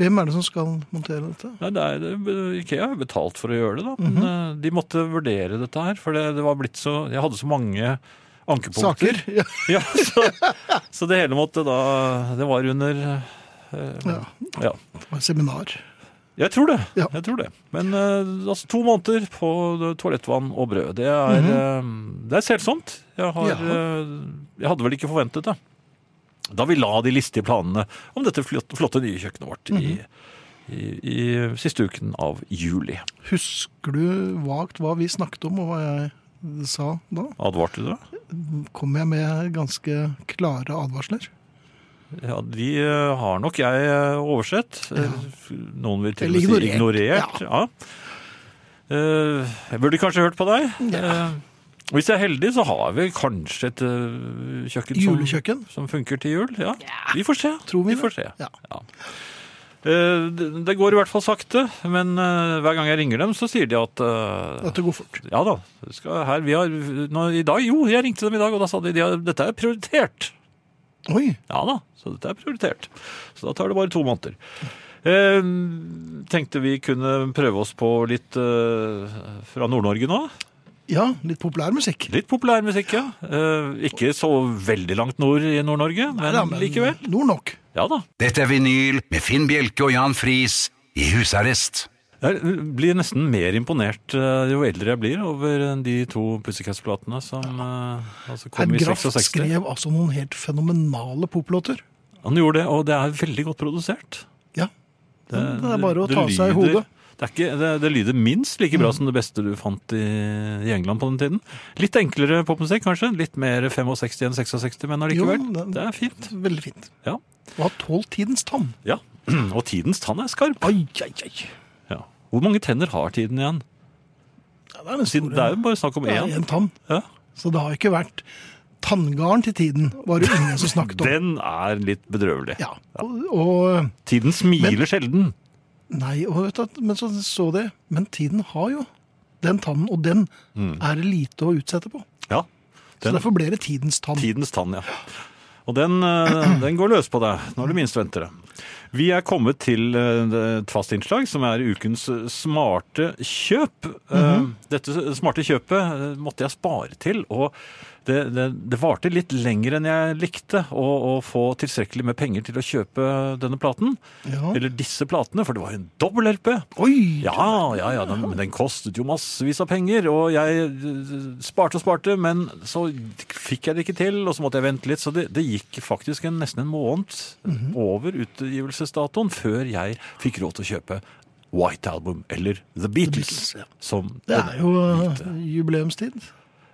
Speaker 2: Hvem er det som skal montere dette?
Speaker 3: Nei, det er, det- IKEA har jo betalt for å gjøre det, da. Men øh, de måtte vurdere dette her, for det, det var blitt så Jeg hadde så mange ankepunkter.
Speaker 2: Saker? [laughs] Ja.
Speaker 3: [laughs] Ja, så, så det hele måtte da Det var under øh,
Speaker 2: ja.
Speaker 3: Ja.
Speaker 2: Det var et seminar.
Speaker 3: Jeg tror det.
Speaker 2: Ja.
Speaker 3: jeg tror det. Men eh, altså, to måneder på toalettvann og brød, det er, eh, det er selsomt. Jeg, har,
Speaker 2: Ja.
Speaker 3: eh, jeg hadde vel ikke forventet det. Da vi la de listige planene om dette flotte, flotte nye kjøkkenet vårt i, i, i siste uken av juli.
Speaker 2: Husker du vagt hva vi snakket om, og hva jeg sa da?
Speaker 3: Advarte du? deg?
Speaker 2: Kom jeg med ganske klare advarsler?
Speaker 3: Ja, de eh, har nok jeg eh, oversett. Eh, Noen vil til og
Speaker 2: Eller
Speaker 3: med si
Speaker 2: ignorert.
Speaker 3: ignorert. Ja. Eh, jeg burde kanskje hørt på deg. Eh, hvis jeg er heldig, så har vi kanskje et eh, kjøkken som-
Speaker 2: Julekjøkken?
Speaker 3: som funker til jul. Ja. Vi får se.
Speaker 2: Tror vi
Speaker 3: vi får se.
Speaker 2: det? Ja.
Speaker 3: Eh, det, det går i hvert fall sakte, men eh, hver gang jeg ringer dem, så sier de at eh,
Speaker 2: At det går fort.
Speaker 3: ja da, det skal her, vi har, nå, i dag, jo, jeg ringte dem i dag, og da sa de at dette er prioritert.
Speaker 2: Oi!
Speaker 3: Ja da, så dette er prioritert. Så da tar det bare to måneder. Eh, tenkte vi kunne prøve oss på litt eh, fra Nord-Norge nå.
Speaker 2: Ja, litt populær musikk.
Speaker 3: Litt populær musikk, ja. Eh, ikke så veldig langt nord i Nord-Norge, men,
Speaker 2: Ja, men
Speaker 3: likevel.
Speaker 2: Nord nok.
Speaker 3: Ja da.
Speaker 1: Dette er vinyl med Finn Bjelke og Jan Friis i husarrest.
Speaker 3: Jeg blir nesten mer imponert eh, jo eldre jeg blir over eh, de to Pussycats-platene som eh, altså kom
Speaker 2: Herr
Speaker 3: i
Speaker 2: Graff
Speaker 3: 66.
Speaker 2: skrev altså noen helt fenomenale poplåter.
Speaker 3: Han gjorde det, og det er veldig godt produsert.
Speaker 2: Ja. Det, det er bare å
Speaker 3: det
Speaker 2: ta seg i
Speaker 3: lyder-
Speaker 2: hodet.
Speaker 3: Det, er ikke, det, det lyder minst like bra som det beste du fant i, i England på den tiden. Litt enklere popmusikk, kanskje. Litt mer 65 enn 66, men allikevel.
Speaker 2: Jo, det-
Speaker 3: det er fint.
Speaker 2: Veldig fint.
Speaker 3: Ja.
Speaker 2: Og har tålt tidens tann.
Speaker 3: ja. [clears throat] Og tidens tann er skarp.
Speaker 2: Ai, ai, ai.
Speaker 3: Ja. Hvor mange tenner har tiden igjen?
Speaker 2: Ja, det er den
Speaker 3: Siden
Speaker 2: store.
Speaker 3: det er jo bare snakk om
Speaker 2: Det er
Speaker 3: én.
Speaker 2: en tann.
Speaker 3: Ja.
Speaker 2: Så det har ikke vært tanngarn til tiden, var det ingen som snakket om.
Speaker 3: Den er litt bedrøvelig.
Speaker 2: Ja. Og, og
Speaker 3: Tiden smiler sjelden.
Speaker 2: Nei, og vet du, men så så det. Men tiden har jo den tannen, og den er det lite å utsette på.
Speaker 3: Ja.
Speaker 2: Så
Speaker 3: Mm. Den-
Speaker 2: derfor ble det tidens tann.
Speaker 3: Tidens tann, ja. Og den, eh, den går løs på deg når du minst venter det. Vi er kommet til eh, det- et fast innslag som er ukens eh, smarte kjøp. Eh, Dette smarte kjøpet eh, måtte jeg spare til, og det, det, det varte litt lenger enn jeg likte å, å få tilstrekkelig med penger til å kjøpe denne platen.
Speaker 2: Ja.
Speaker 3: Eller disse platene, for det var jo en dobbel LP.
Speaker 2: Oi!
Speaker 3: Ja, ja, ja, den, men den kostet jo massevis av penger, og jeg eh, sparte og sparte, men så fikk jeg det ikke til, og så måtte jeg vente litt, så det, det gikk faktisk en, nesten en måned
Speaker 2: Mhm.
Speaker 3: over utgivelsesdatoen før jeg fikk råd til å kjøpe White Album eller The Beatles.
Speaker 2: Beatles, ja.
Speaker 3: Som
Speaker 2: Det er jo eh, jubileumstid.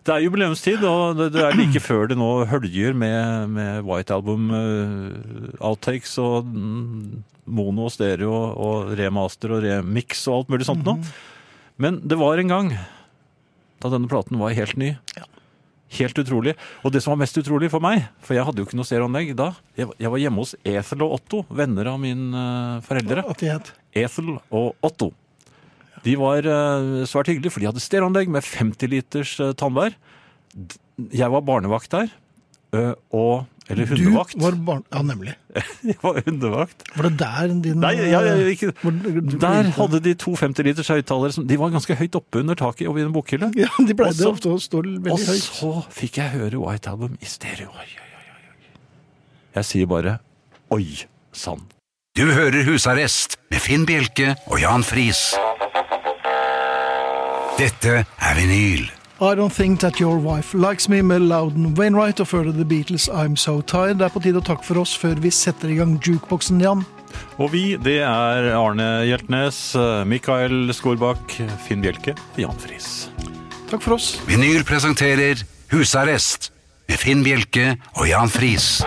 Speaker 3: det er jubileumstid, og det, det er like før det nå høljer med, med White Album eh, outtakes og mm, mono og stereo og remaster og remix og alt mulig sånt nå. Men det var en gang da denne platen var helt ny. Helt utrolig. Og det som var mest utrolig for meg, for jeg hadde jo ikke noe stereoanlegg da, jeg, var- jeg var hjemme hos Ethel og Otto, venner av mine eh, foreldre.
Speaker 2: At de het
Speaker 3: Ethel og Otto. De var eh, svært hyggelige, for de hadde stereoanlegg med 50 liters eh, tannbær. D- Jeg var barnevakt der, eh, og Eller
Speaker 2: Du
Speaker 3: hundevakt.
Speaker 2: var barn... Ja, nemlig.
Speaker 3: [laughs] Jeg var hundevakt.
Speaker 2: Var det der din
Speaker 3: Nei, jeg, jeg, ikke...
Speaker 2: hvor- du-
Speaker 3: Der hadde de to 50 liters høyttalere. som- De var ganske høyt oppe under taket og i en bokhylle.
Speaker 2: [laughs] Ja, de pleide
Speaker 3: Også-
Speaker 2: ofte å stå veldig
Speaker 3: Og
Speaker 2: høyt.
Speaker 3: så fikk jeg høre White Album i stereo. Oi, oi, oi, oi. Jeg sier bare oi sann.
Speaker 1: Du hører Husarrest med Finn Bjelke og Jan Friis. Dette er vinyl.
Speaker 2: I Don't Think That Your Wife Likes Me med Loudon Wainwright og før det The Beatles I'm So Tired. Det er på tide å takke for oss før vi setter i gang jukeboksen, Jan.
Speaker 3: Og vi, det er Arne Hjeltnes, Mikael Skorbakk, Finn Bjelke og Jan Friis.
Speaker 2: Takk for oss.
Speaker 1: Vinyl presenterer Husarrest med Finn Bjelke og Jan Friis.